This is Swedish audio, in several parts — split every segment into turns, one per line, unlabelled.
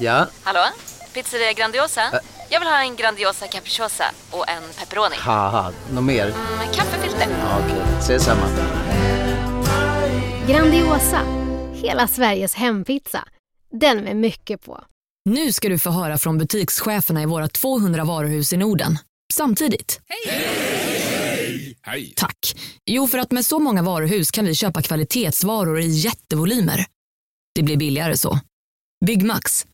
Ja,
Hallå? Pizzeria Grandiosa? Jag vill ha en Grandiosa capriciosa och en pepperoni.
haha, något mer?
Mm, kaffefilter.
Ja, Okej, ses samma.
Grandiosa, hela Sveriges hempizza. Den med mycket på.
Nu ska du få höra från butikscheferna i våra 200 varuhus i Norden. Samtidigt. Hej!
Hej!
Tack. Jo, för att med så många varuhus kan vi köpa kvalitetsvaror i jättevolymer. Det blir billigare så. Byggmax.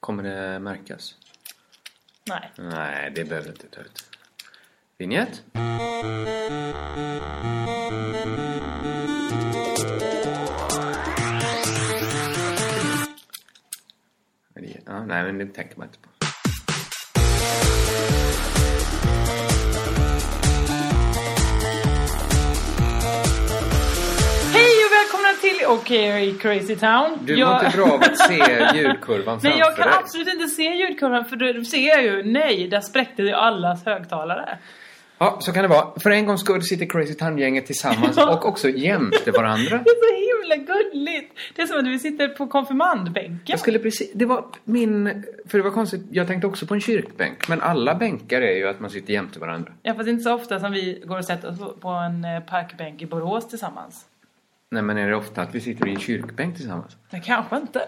Kommer det märkas?
Nej.
Nej, det behöver inte ta ut. Vinjett? Ja, nej, men det tänker man inte på.
Hej och välkomna till Okej Crazy Town.
Du
Jag-
mår inte bra av att se ljudkurvan
Nej
framför
jag kan
dig.
absolut inte se ljudkurvan för då ser jag ju, nej, där spräckte ju allas högtalare.
Ja, så kan det vara. För en gångs skull sitter Crazy Town-gänget tillsammans
Ja.
och också jämte varandra.
Det är så himla gulligt! Det är som att vi sitter på konfirmandbänken.
Jag skulle precis, det var min, för det var konstigt, jag tänkte också på en kyrkbänk. Men alla bänkar är ju att man sitter jämte varandra.
Ja fast det är inte så ofta som vi går och sätter oss på- på en eh, parkbänk i Borås tillsammans.
Nej men är det ofta att vi sitter i en kyrkbänk tillsammans?
Men kanske inte.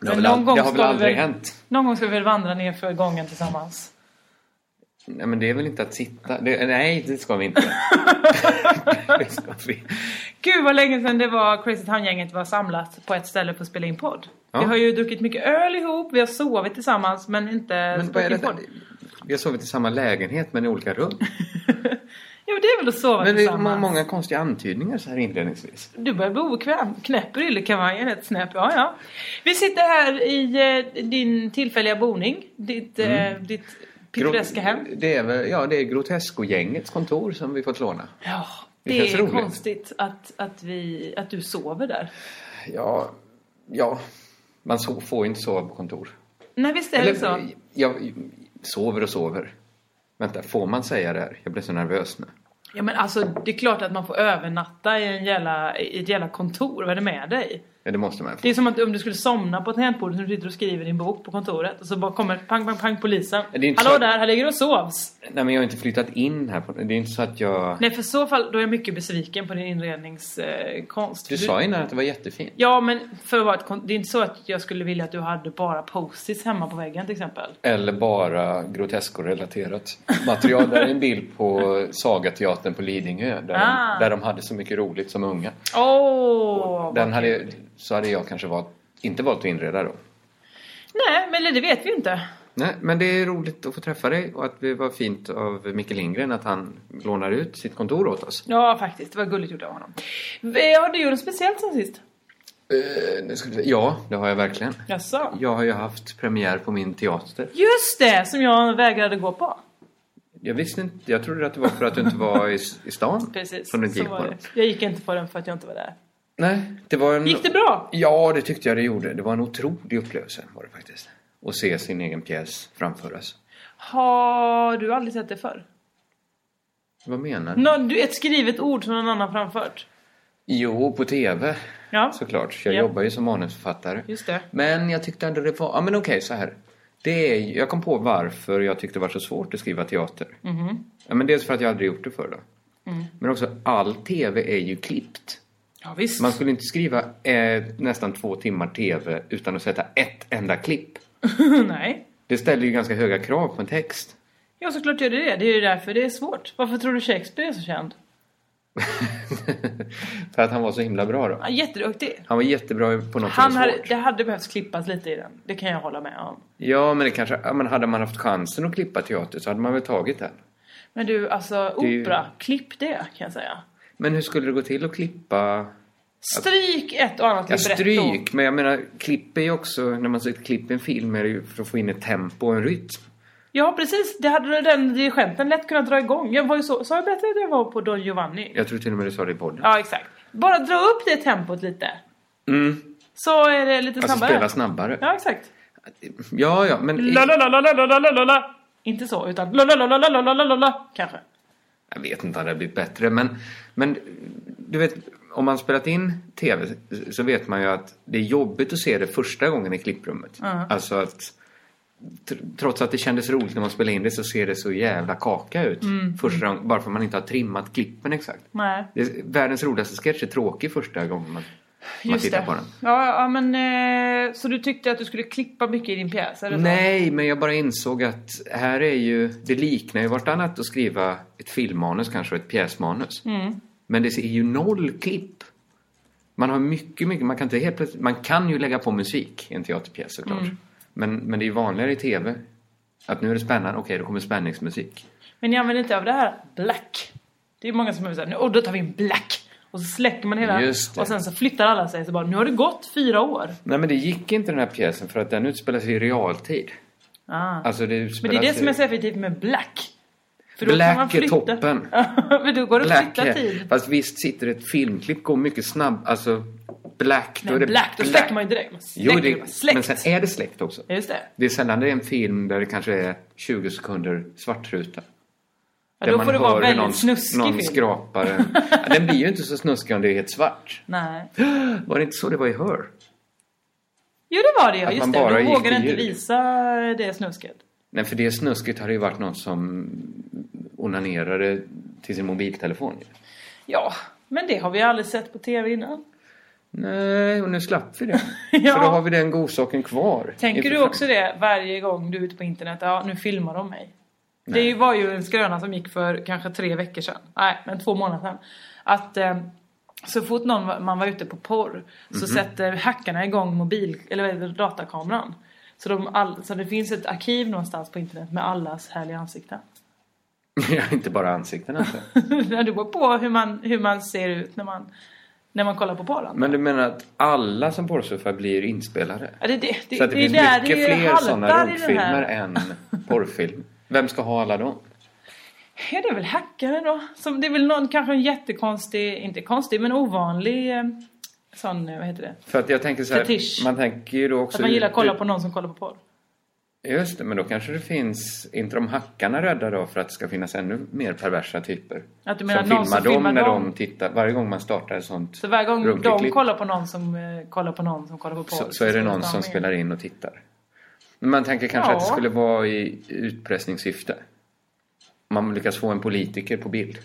Det har väl, al- det har väl aldrig hänt?
Någon gång ska vi väl vandra ner för gången tillsammans.
Nej men det är väl inte att sitta? Det, nej, det ska vi inte. det ska vi.
Gud vad länge sedan det var Crazy Town-gänget var samlat på ett ställe för att spela in podd.
Ja.
Vi har ju druckit mycket öl ihop, vi har sovit tillsammans men inte
Men vad
spelat
är
in
det?
podd.
Vi har sovit i samma lägenhet men i olika rum.
Jo det är väl att sova
Men det är
tillsammans.
må- många konstiga antydningar så här inledningsvis.
Du börjar bli obekväm. Knäpp yllekavajen ett snäpp. Ja, ja. Vi sitter här i eh, din tillfälliga boning. Ditt,
Mm.
eh, ditt pittoreska hem.
Det är väl, ja det är Grotesco-gängets kontor som vi fått låna.
Ja,
Det
det,
känns
är
roligt.
konstigt att, att, vi, att du sover där.
Ja, ja. Man so- får ju inte sova på kontor.
Nej, visst är det så?
Jag sover och sover. Vänta, får man säga det här? Jag blir så nervös nu.
Ja, men alltså det är klart att man får övernatta i, en jävla, i ett jävla kontor. Vad är det med dig?
Ja, det måste man.
Det är som att om du skulle somna på tangentbordet när du sitter och skriver din bok på kontoret och så bara kommer pang, pang, pang polisen.
Ja, det är inte
Hallå
så-
där, här ligger du och sovs.
Nej, men jag har inte flyttat in här. På... Det är inte så att jag...
Nej, för i så fall då är jag mycket besviken på din inredningskonst.
Du sa innan att det var jättefint.
Ja, men för att vara ett, kon- det är inte så att jag skulle vilja att du hade bara post-its hemma på väggen till exempel.
Eller bara Grotesco-relaterat material. Där är en bild på Sagateatern på Lidingö. Där,
Ah.
de, där de hade så mycket roligt som unga.
Åh!
Den hade, så hade jag kanske valt, inte valt att inreda då.
Nej, men det vet vi ju inte.
Nej, men det är roligt att få träffa dig och att det var fint av Micke Lindgren att han lånar ut sitt kontor åt oss.
Ja, faktiskt. Det var gulligt gjort av honom. Eh, Har du gjort något speciellt sen sist?
Eh, nu ska vi se. Ja, det har jag verkligen.
Jaså?
Jag har ju haft premiär på min teater.
Just det! Som jag vägrade gå på.
Jag visste inte, jag trodde att det var för att du inte var i, i stan.
Precis.
Som du inte
så
gick
var
på
det.
det.
Jag gick inte på den för att jag inte var där.
Nej, det var en...
Gick det bra?
Ja, det tyckte jag det gjorde. Det var en otrolig upplevelse var det faktiskt. Att se sin egen pjäs framföras.
Har du aldrig sett det förr?
Vad menar du?
Nå, du? Ett skrivet ord som någon annan framfört?
Jo, på TV.
Ja,
Såklart. Jag
Ja.
jobbar ju som manusförfattare.
just det.
Men jag tyckte ändå det var... Ja men okej, så här. Det är, jag kom på varför jag tyckte det var så svårt att skriva teater. Ja, men dels för att jag aldrig gjort det förr då. Men också, all TV är ju
Mm.
klippt.
Ja, visst.
Man skulle inte skriva eh, nästan två timmar TV utan att sätta ett enda klipp.
Nej.
Det ställer ju ganska höga krav på en text.
Ja, såklart gör det det. Det är ju därför det är svårt. Varför tror du Shakespeare är så känd?
för att han var så himla bra då.
Han är jätteduktig.
Han var jättebra på något
Han
som är
hade,
svårt.
det hade behövts klippas lite i den. Det kan jag hålla med om.
Ja, men det kanske... Ja, men hade man haft chansen att klippa teater så hade man väl tagit den.
Men du, alltså
är ju-
opera, klipp det kan jag säga.
Men hur skulle det gå till att klippa Stryk ett och annat
Jag
libretto.
stryk, men jag menar klipp är ju också, när man säger klipp i en film är det ju för att få in ett tempo och en rytm.
Ja, precis. Det hade den dirigenten lätt kunnat dra igång. Jag var ju så, sa jag berättade att jag var på Don Giovanni?
Jag tror till och med du sa det i podden.
Ja, exakt. Bara dra upp det tempot lite.
Mm.
Så är det lite
Alltså
snabbare.
spela snabbare.
Ja, exakt.
Ja, ja, men...
La, la, la, la, la, la, la, la, la. Inte så, utan la, la, la, la, la, la, la, la, la, la, kanske.
Jag vet inte om det hade blivit bättre, men, men du vet, om man spelat in tv så vet man ju att det är jobbigt att se det första gången i klipprummet. Alltså att tr- trots att det kändes roligt när man spelade in det så ser det så jävla kaka ut första gången, bara för att man inte har trimmat klippen exakt.
Nej,
Det är, världens roligaste sketch är tråkig första gången man, man
just
tittar
det.
på den.
Ja, ja, men eh, så du tyckte att du skulle klippa mycket i din pjäs? Eller så?
Nej, men jag bara insåg att här är ju, det liknar ju vartannat att skriva ett filmmanus kanske och ett pjäsmanus.
Mm.
Men det är ju noll klipp. Man har mycket, mycket, man kan inte helt plötsligt, man kan ju lägga på musik i en teaterpjäs såklart. Men, men det är ju vanligare i tv. Att nu är det spännande, okej då kommer spänningsmusik.
Men ni använder inte av det här black. Det är många som är såhär, och då tar vi in black. Och så släcker man hela
Just det.
och sen så flyttar alla sig så bara, nu har det gått fyra år.
Nej men det gick inte den här pjäsen för att den utspelar sig i realtid.
Ah.
Alltså det
Men det är det som är så
säger.
effektivt med black. För
Black är toppen.
Men då går det att
Black,
flytta tid.
fast visst sitter ett filmklipp går mycket snabbt, alltså black, då
Men
är det
black, då släcker man ju direkt. Man
Jo,
släcker, man
det,
släckt.
men sen är det släckt också.
Ja, Just det.
Det är sällan det är en film där det kanske är 20 sekunder svartruta.
Ja,
Där
då
man
får det
hör
vara
hur
en väldigt
någon,
snuskig
någon
film.
skrapar en. Ja, Den blir ju inte så snuskig om det är helt svart.
Nej.
Var det inte så det var i Her?
Jo det var det ja,
Att
just
man
det.
bara
Då
gick
vågar
till
inte
ljud.
visa det snusket.
Nej, för det snuskigt har det ju varit någon som onanerade till sin mobiltelefon.
Ja, men det har vi aldrig sett på tv innan.
Nej, och nu slapp vi det.
Ja.
För då har vi den godsaken kvar.
Tänker
inför
du
fram-
också det varje gång du är ute på internet? Ja, nu filmar de mig. Det var ju en skröna som gick för kanske tre veckor sedan. Nej, men två månader sedan. Att eh, så fort någon, var- man var ute på porr så sätter hackarna igång mobil, eller vad heter det, datakameran. Så, de all, så det finns ett arkiv någonstans på internet med allas härliga ansikten.
Ja, inte bara ansikten alltså.
När du går på hur man, hur man ser ut när man, när man kollar på porren.
Men du menar att alla som porrsurfar blir inspelade?
Ja, det, det, det,
Så att det,
är
finns
där
mycket
det är
fler sådana
haltar i den
rollfilmer
här.
än porrfilm. Vem ska ha alla dem?
Ja, det är väl hackare då. Som, det är väl någon, kanske en jättekonstig, inte konstig, men ovanlig eh, sån, eh, vad heter det?
För att jag tänker så här,
Fetisch.
man tänker ju då också...
Att man gillar att
ut-
kolla på någon som kollar på porr.
Just det, men då kanske det finns, inte de hackarna rädda då för att det ska finnas ännu mer perversa typer?
Att du menar
som
någon som
filmar dem
filmar
när
dem?
de tittar, varje gång man startar ett sånt
Så varje gång
runkigt
de
klipp,
kollar på någon som eh, kollar på någon som kollar på porr.
så, så är det
finns
någon som
med.
spelar in och tittar. Men man tänker kanske
Ja.
att det skulle vara i utpressningssyfte. Man lyckas få en politiker på bild.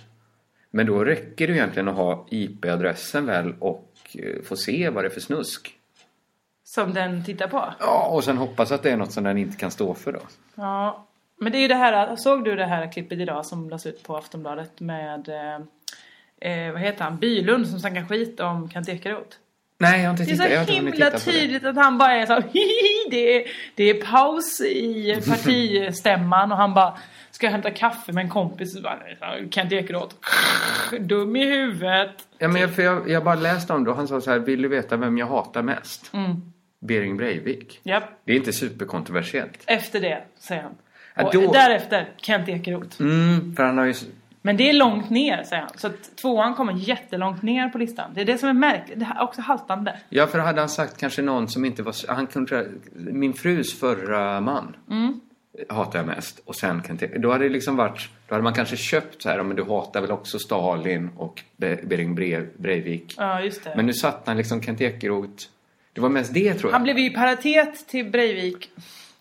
Men då räcker det ju egentligen att ha IP-adressen väl och eh, få se vad det är för snusk.
Som den tittar på?
Ja, och sen hoppas att det är något som den inte kan stå för då.
Ja. Men det är ju det här, såg du det här klippet idag som lades ut på Aftonbladet med, eh, eh, vad heter han, Bylund som snackar skit om Kent Ekeroth?
Nej, jag har inte
Det är
tittat. jag har
så
inte hunnit
himla
titta på det.
tydligt att han bara är så här, "Hihihi, det är, det är paus i partistämman och han bara Ska jag hämta kaffe med en kompis? Och bara, "Nej, fan, Kent Ekeroth Dum i huvudet
Ja, men jag, för jag, jag bara läste om det och han sa så här, vill du veta vem jag hatar mest? Bering Breivik.
Japp,
Det är inte superkontroversiellt.
efter det säger han
Ja,
och
då-
därefter Kent Ekeroth
Mm, för han har ju... s-
Men det är långt ner säger han Så att tvåan kommer jättelångt ner på listan Det är det som är märkligt, det här är också haltande
Ja, för hade han sagt kanske någon som inte var... s- Han kunde, min frus förra man hatar jag mest. Och sen kan inte- Då hade det liksom varit... Då hade man kanske köpt så här, "Ja, men du hatar väl också Stalin och Be- Bering Bre- Breivik.
Ja just det
Men nu satt han liksom Kent Ekeroth. Det var mest det tror jag.
Han blev ju i paritet till Breivik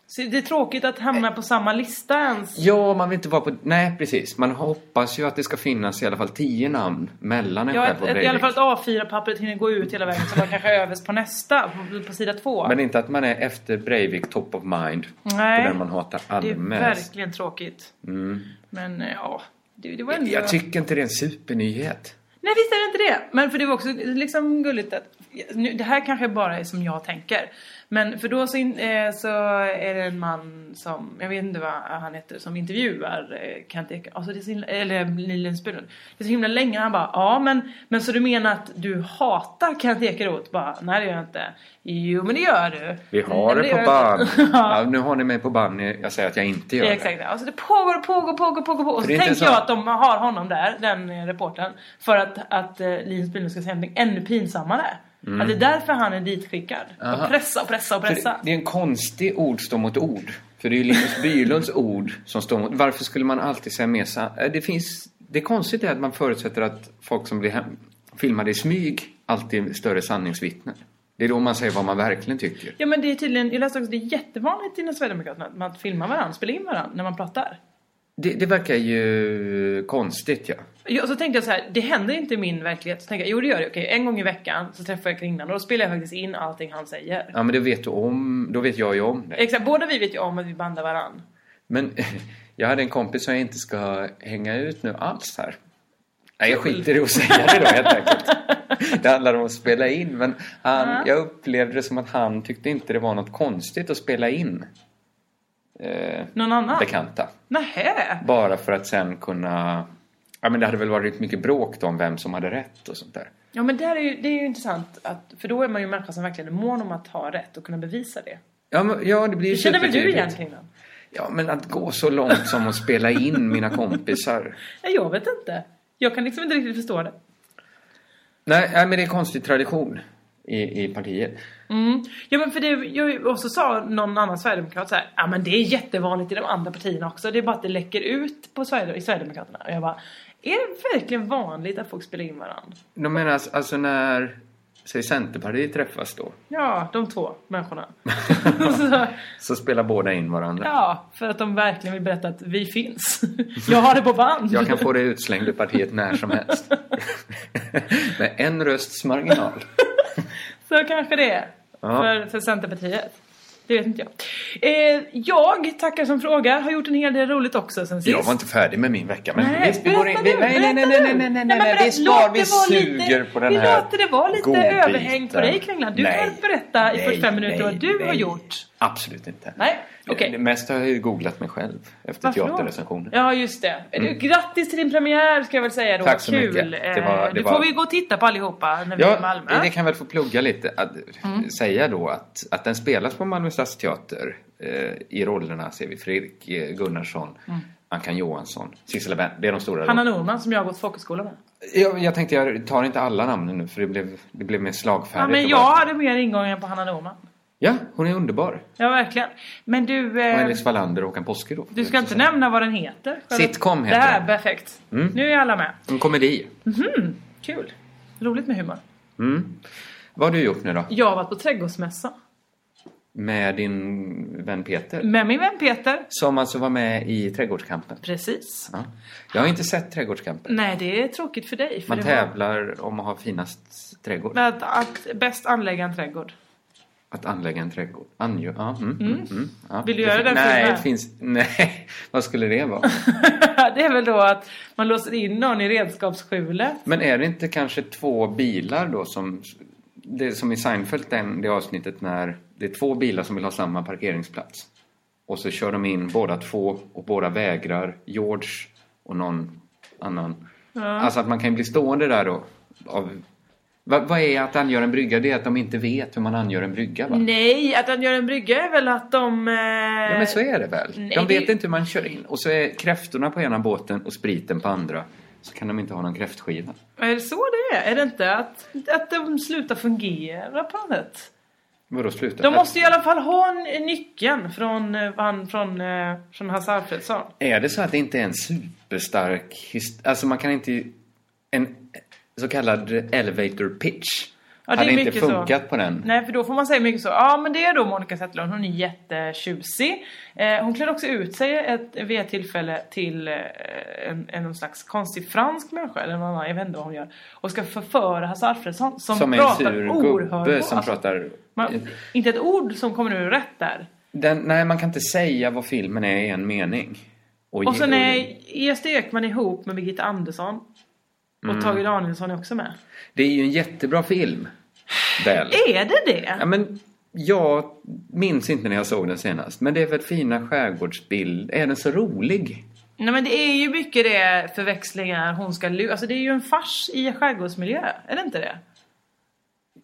så det är tråkigt att hamna på samma lista ens.
Ja, man vill inte vara på... Nej, precis. Man hoppas ju att det ska finnas i alla fall tio namn mellan en
Ja,
själv
ett,
och
ett, i alla
Breivik.
fall ett A4-pappret hinner gå ut hela vägen så man kanske övers på nästa, på, på sida två.
Men inte att man är efter Breivik top of mind.
Nej.
För den man hatar
det är
allra mest. Mm.
verkligen tråkigt. Men eh, ja, det, det var ändå...
Jag tycker inte det är en supernyhet.
Nej visst är det inte det. Men för det var också liksom gulligt att, nu, det här kanske bara är som jag tänker. Men för då så, in, eh, så är det en man som, jag vet inte vad han heter, som intervjuar eh, Kent Ek, alltså det är så himla, eller Lillen Spelund. Det är så himla länge, han bara ja men, men så du menar att du hatar Kent Ekeroth? Bara nej det gör jag inte. Jo men det gör du.
Vi har
"Nej, men
det på
gör jag
band.
inte."
ja. nu har ni mig på band. Ni- Jag säger att jag inte gör
Ja,
det.
exakt. Alltså det pågår, pågår, pågår, pågår. pågår.
För
Och så
det är inte
tänker
så-
jag att de har honom där, den eh, reportern. För att, att eh, Linus Bylund ska säga någonting ännu pinsammare. Att det är därför han är ditskickad. Och pressa och pressa och
Mm. För
pressa.
det- Det är en konstig ord står mot ord. För det är ju Linus Bylunds ord som står mot... Varför skulle man alltid säga mer sa- Eh, Det finns... Det konstiga är att man förutsätter att folk som blir hem... filmade i smyg alltid är större sanningsvittnen. Det är då man säger vad man verkligen tycker.
Ja men det är tydligen, jag läste också, det är jättevanligt inom Sverigedemokraterna att man filmar varandra, spelar in varandra när man pratar.
Det, det verkar ju konstigt, ja.
Ja, Och så tänkte jag så här, det händer inte i min verklighet. Så tänkte jag, jo det gör det. Okej, en gång i veckan så träffar jag kvinnan och då spelar jag faktiskt in allting han säger.
Ja, men det vet du om. Då vet jag ju om det.
Exakt, båda vi vet ju om att vi bandar varandra.
Men jag hade en kompis som jag inte ska hänga ut nu alls här. Nej, jag skiter i att säga det då helt enkelt. Det handlar om att spela in, men han, jag upplevde det som att han tyckte inte det var något konstigt att spela in eh,
Någon annan?
bekanta.
Nähä?
Bara för att sen kunna... Ja, men det hade väl varit mycket bråk då om vem som hade rätt och sånt där.
Ja men där är ju, det är ju intressant att, för då är man ju en människa som verkligen är mån om att ha rätt och kunna bevisa det.
Ja, men, ja det blir ju
Det känner väl du
supertydligt.
igen Kringland?
Ja, men att gå så långt som att spela in mina kompisar.
Ja, jag vet inte. Jag kan liksom inte riktigt förstå det.
Nej, nej, men det är konstig tradition i, i partiet.
Mm. Ja men för det, jag, och så sa någon annan sverigedemokrat så här, ja men det är jättevanligt i de andra partierna också, det är bara att det läcker ut på Sverige, i Sverigedemokraterna. Och jag bara, är det verkligen vanligt att folk spelar in varandra?
De menar alltså- alltså när, säg Centerpartiet träffas då,
Ja, de två människorna. så,
så spelar båda in varandra.
ja, för att de verkligen vill berätta att vi finns. jag har det på band.
Jag kan få det utslängd ur partiet när som helst. Med en rösts marginal.
Så kanske det är.
Ja.
För, för Centerpartiet. Det vet inte jag. Eh, jag tackar som frågar. Har gjort en hel del roligt också sen sist.
Jag var inte färdig med min vecka, men
Nej,
visst, vi går in. Vi,
berätta
nej,
du,
nej, nej, nej, nej, nej,
berätta du.
nej, nej,
men
vi
berätta,
spar,
låt
vi
det vara
suger
lite,
på den
vi
här
låter det vara lite
godbiten.
överhäng på dig Kringland. Du
Nej,
får berätta i
nej,
45 minuter vad
nej,
du har
nej.
gjort.
Absolut inte.
Nej, okej.
Det mesta har jag ju googlat mig själv efter
Varför då?
teaterrecensionen.
Ja, just det. Du, Grattis till din premiär ska jag väl säga då.
Tack så
Kul.
mycket. Det
Eh,
var- det
du
var-
får vi gå och titta på allihopa när vi är i
Ja,
Malmö.
det kan väl få plugga lite. Att Säga då att, att den spelas på Malmö Stadsteater eh, i rollerna ser vi Fredrik eh, Gunnarsson, Ankan Johansson, Sissela Wendt. Det är de stora.
Hanna Norman som jag har gått folkhögskola med.
jag, jag tänkte jag tar inte alla namnen nu för det blev, det blev mer
Ja,
slagfärdigt.
men
och
jag
bara-
hade mer ingångar på Hanna Norman.
ja, hon är underbar.
Ja, verkligen. Men du... eh,
Och Alice Wallander och Håkan Påske då.
Du ska inte nämna vad den heter.
Sitcom
det.
heter
Det här,
den. Mm.
perfekt. Nu är alla med. Mhm,
En komedi.
Kul. Roligt med humor.
Mm. Vad har du gjort nu då?
Jag har varit på trädgårdsmässa.
Med din vän Peter?
Med min vän Peter.
Som alltså var med i Trädgårdskampen.
Precis.
Ja. Jag har inte sett Trädgårdskampen.
Nej, det är tråkigt för dig. För
Man
det
tävlar om att ha finast trädgård.
var- Med att bäst anlägga en trädgård.
Att anlägga en trädgård. Ange, ja, mm, mm. Mm, ja.
Vill du
Det
göra
fin-
den
Nej,
filmen?
det finns... Nej, vad skulle det vara?
det är väl då att man låser in någon i redskapsskjulet.
Men är det inte kanske två bilar då som... Det är som i Seinfeld, den, det avsnittet när det är två bilar som vill ha samma parkeringsplats. Och så kör de in båda två och båda vägrar. George och någon annan. Alltså att man kan ju bli stående där då. Av, Va- vad är att angöra en brygga? Det är att de inte vet hur man angör en brygga va?
Nej, att han gör en brygga är väl att de... Eh...
Ja men så är det väl.
Nej,
de vet
det-
inte hur man kör in. Och så är kräftorna på ena båten och spriten på andra. Så kan de inte ha någon kräftskiva.
Är det så det är? Är det inte att, att de slutar fungera på något sätt?
Vadå sluta?
De måste ju i alla fall ha en- nyckeln från, eh, han, från, eh, från Hasse Alfredsson.
Är det så att det inte är en superstark hist- Alltså man kan inte... En så kallad elevator pitch.
Ja, det är
hade inte
mycket så.
funkat på den.
Nej, för då får man säga mycket så. Ja, men det är då Monica Zetterlund. Hon är jättetjusig. Eh, hon klär också ut sig ett, vid ett tillfälle till eh, en, en någon slags konstig fransk människa eller någon annan, jag vet inte vad hon gör. Och ska förföra Hasse Alfredsson som,
Som en
pratar
sur
oerhört
gubbe
bra.
som pratar...
Man, inte ett ord som kommer ur rätt där.
Den, nej, man kan inte säga vad filmen är i en mening.
Och sen E
ge-
är Gösta Ekman ihop med Birgitta Andersson. Och Tage Danielsson är också med.
Mm. Det är ju en jättebra film. Väl?
Är det det?
Ja, men jag minns inte när jag såg den senast. Men det är väl fina skärgårdsbilder. Är den så rolig?
Nej men det är ju mycket det förväxlingar, hon ska lura. Alltså det är ju en fars i skärgårdsmiljö, är det inte det?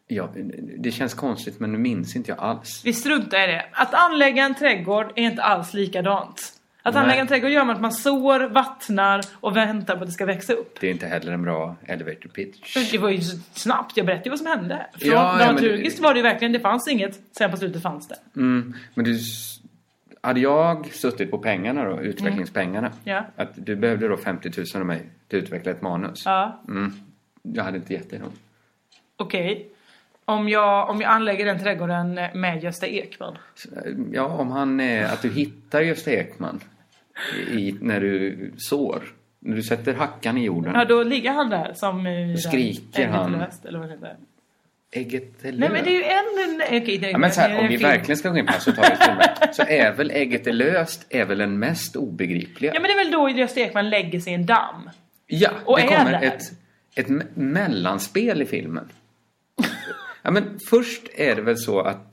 Ja, det känns konstigt men nu minns inte jag alls.
Vi struntar i det. Att anlägga en trädgård är inte alls likadant. Att
Nej.
anlägga en trädgård gör man att man sår, vattnar och väntar på att det ska växa upp.
Det är inte heller en bra elevator pitch.
Men Det var ju så snabbt, jag berättade ju vad som hände. Från,
ja, men det-
dramaturgiskt var det ju verkligen, det fanns inget. Sen på slutet fanns det.
Mm, men du, s- hade jag suttit på pengarna då, utvecklingspengarna.
Mm. Ja.
Att du behövde då 50 000 av mig till att utveckla ett manus.
Ja,
Mm, jag hade inte gett dig dem.
okej. Om, jag, om jag anlägger den trädgården med Gösta Ekman.
Så, eh, Ja, om han, eh, att du hittar Gösta Ekman i, i, när du sår. När du sätter hackan i jorden.
Ja, då ligger han där som i... den-
skriker
Ägget
han.
löst, Eller vad det heter.
Ägget eller
Nej men det är ju en... nej, Okej, det,
Ja, men så
det
här,
är
om
en
vi
film.
verkligen ska gå in på resultatet filmen, så är väl ägget är löst är väl den mest obegripliga.
Ja men det är väl då Gösta Ekman lägger sig i en damm.
Ja,
Och
det
är
kommer
där.
ett, ett me- mellanspel i filmen. ja, men först är det väl så att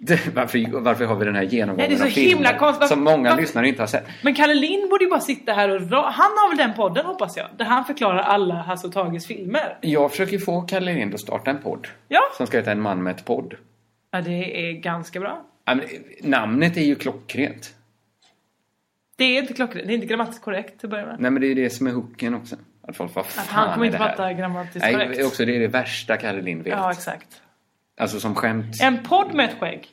det, varför, varför har vi den här genomgången
Nej, det är
av
så himla
filmer
konstigt.
som många
Varför-
lyssnare inte har sett?
Men Kalle Lind borde ju bara sitta här och... ra- Han har väl den podden hoppas jag? Där han förklarar alla Hasse och Tages filmer.
Jag försöker få Kalle Lind att starta en podd
Ja.
som ska heta En man med ett podd.
Ja det är ganska bra.
Ja, men, eh, namnet är ju klockrent.
Det är inte klockrent, det är inte grammatiskt korrekt till att börja med.
Nej, men det är det som är hooken också. Att folk, vad fan
han
är
kommer inte
det här?
fatta grammatiskt
Nej,
korrekt.
Också, det är det värsta Kalle Lind vet.
Ja exakt.
Alltså som skämt.
En podd med ett skägg.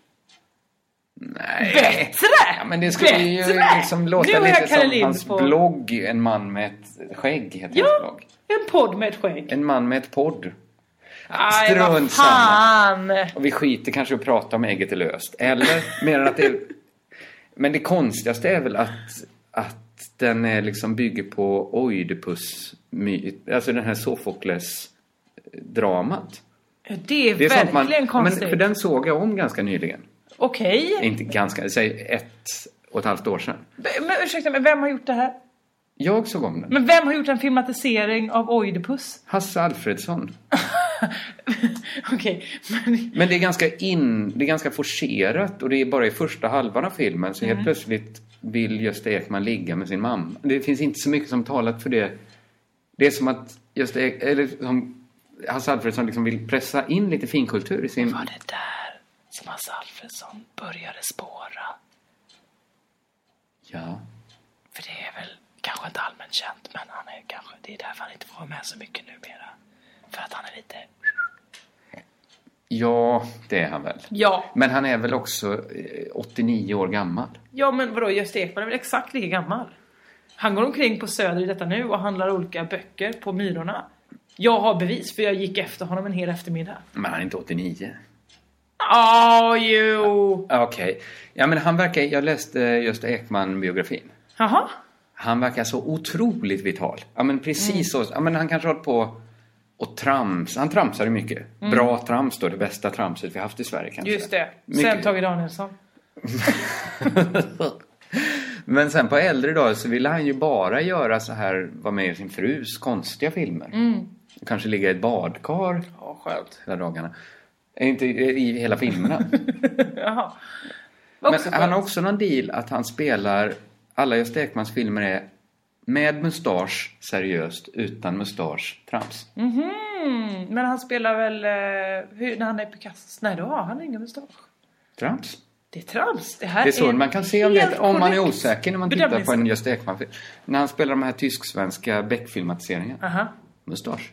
Nej.
Bättre!
Ja, men det skulle ju
Bättre!
liksom
Nu
låta
är
lite
Kalle
som
Lind
hans
på-
blogg En man med ett skägg heter hans
Ja,
blogg.
en podd med ett skägg.
En man med ett podd.
Aj, vad
Strunt samma.
fan!
Och vi skiter kanske i att prata om ägget är löst. Eller mer än att det... Men det konstigaste är väl att, att den är liksom bygger på Oidipus myt. Alltså den här Sofokles dramat.
Ja, Det är,
Det är sånt man...
verkligen
Men
konstigt.
för den såg jag om ganska nyligen.
Okej.
Inte ganska, säg ett och ett halvt år sedan.
B- Men ursäkta, men vem har gjort det här?
Jag såg om den.
Men vem har gjort en filmatisering av Oidipus?
Hasse Alfredsson.
Okej, men...
Men det är ganska in, det är ganska forcerat och det är bara i första halvan av filmen så helt plötsligt vill Gösta Ekman ligga med sin mamma. Det finns inte så mycket som talat för det. Det är som att Gösta Ek, eller som Hasse Alfredsson liksom vill pressa in lite finkultur i sin...
Det där som Hasse Alfredson började spåra.
Ja.
För det är väl kanske inte allmänt känt, men han är kanske... Det är därför han inte får vara med så mycket numera. För att han är lite...
Ja, det är han väl.
Ja,
Men han är väl också eh, 89 år gammal.
ja men vadå, Gösta Ekman är väl exakt lika gammal? Han går omkring på Söder i detta nu och handlar olika böcker på Myrorna. Jag har bevis, för jag gick efter honom en hel eftermiddag.
Men han är inte 89.
Åh, jo!
Ja, Okej. Ja, men han verkar... Jag läste eh, Gösta Ekman-biografin.
Jaha?
Han verkar så otroligt vital. Ja men precis så. Ja, men han kanske har hållit på och trams. Han tramsade mycket. Bra trams då, det bästa tramset vi haft i Sverige kanske.
Just det. Sen
Mycket.
Tage Danielsson.
Men sen på äldre dagar så ville han ju bara göra så här, vara med i sin frus konstiga filmer. Kanske ligga i ett badkar
Ja, skönt.
hela dagarna. Eh, Inte i i hela filmerna.
Jaha.
Men
Också
han
skönt.
har också någon deal att han spelar, alla Gösta Ekmans filmer är med mustasch seriöst, utan mustasch trams.
Mm, men han spelar väl... Eh, hur, när han är Picasso? Nej, då har han ingen mustasch.
Trams?
Det är trams. Det, här
Det är så man kan se om,
helt
det, om man är
korrekt
osäker när man tittar på en
bedömnings-
Gösta Ekman-film. När han spelar de här tysk-svenska Beck-filmatiseringarna.
Aha.
Mustasch.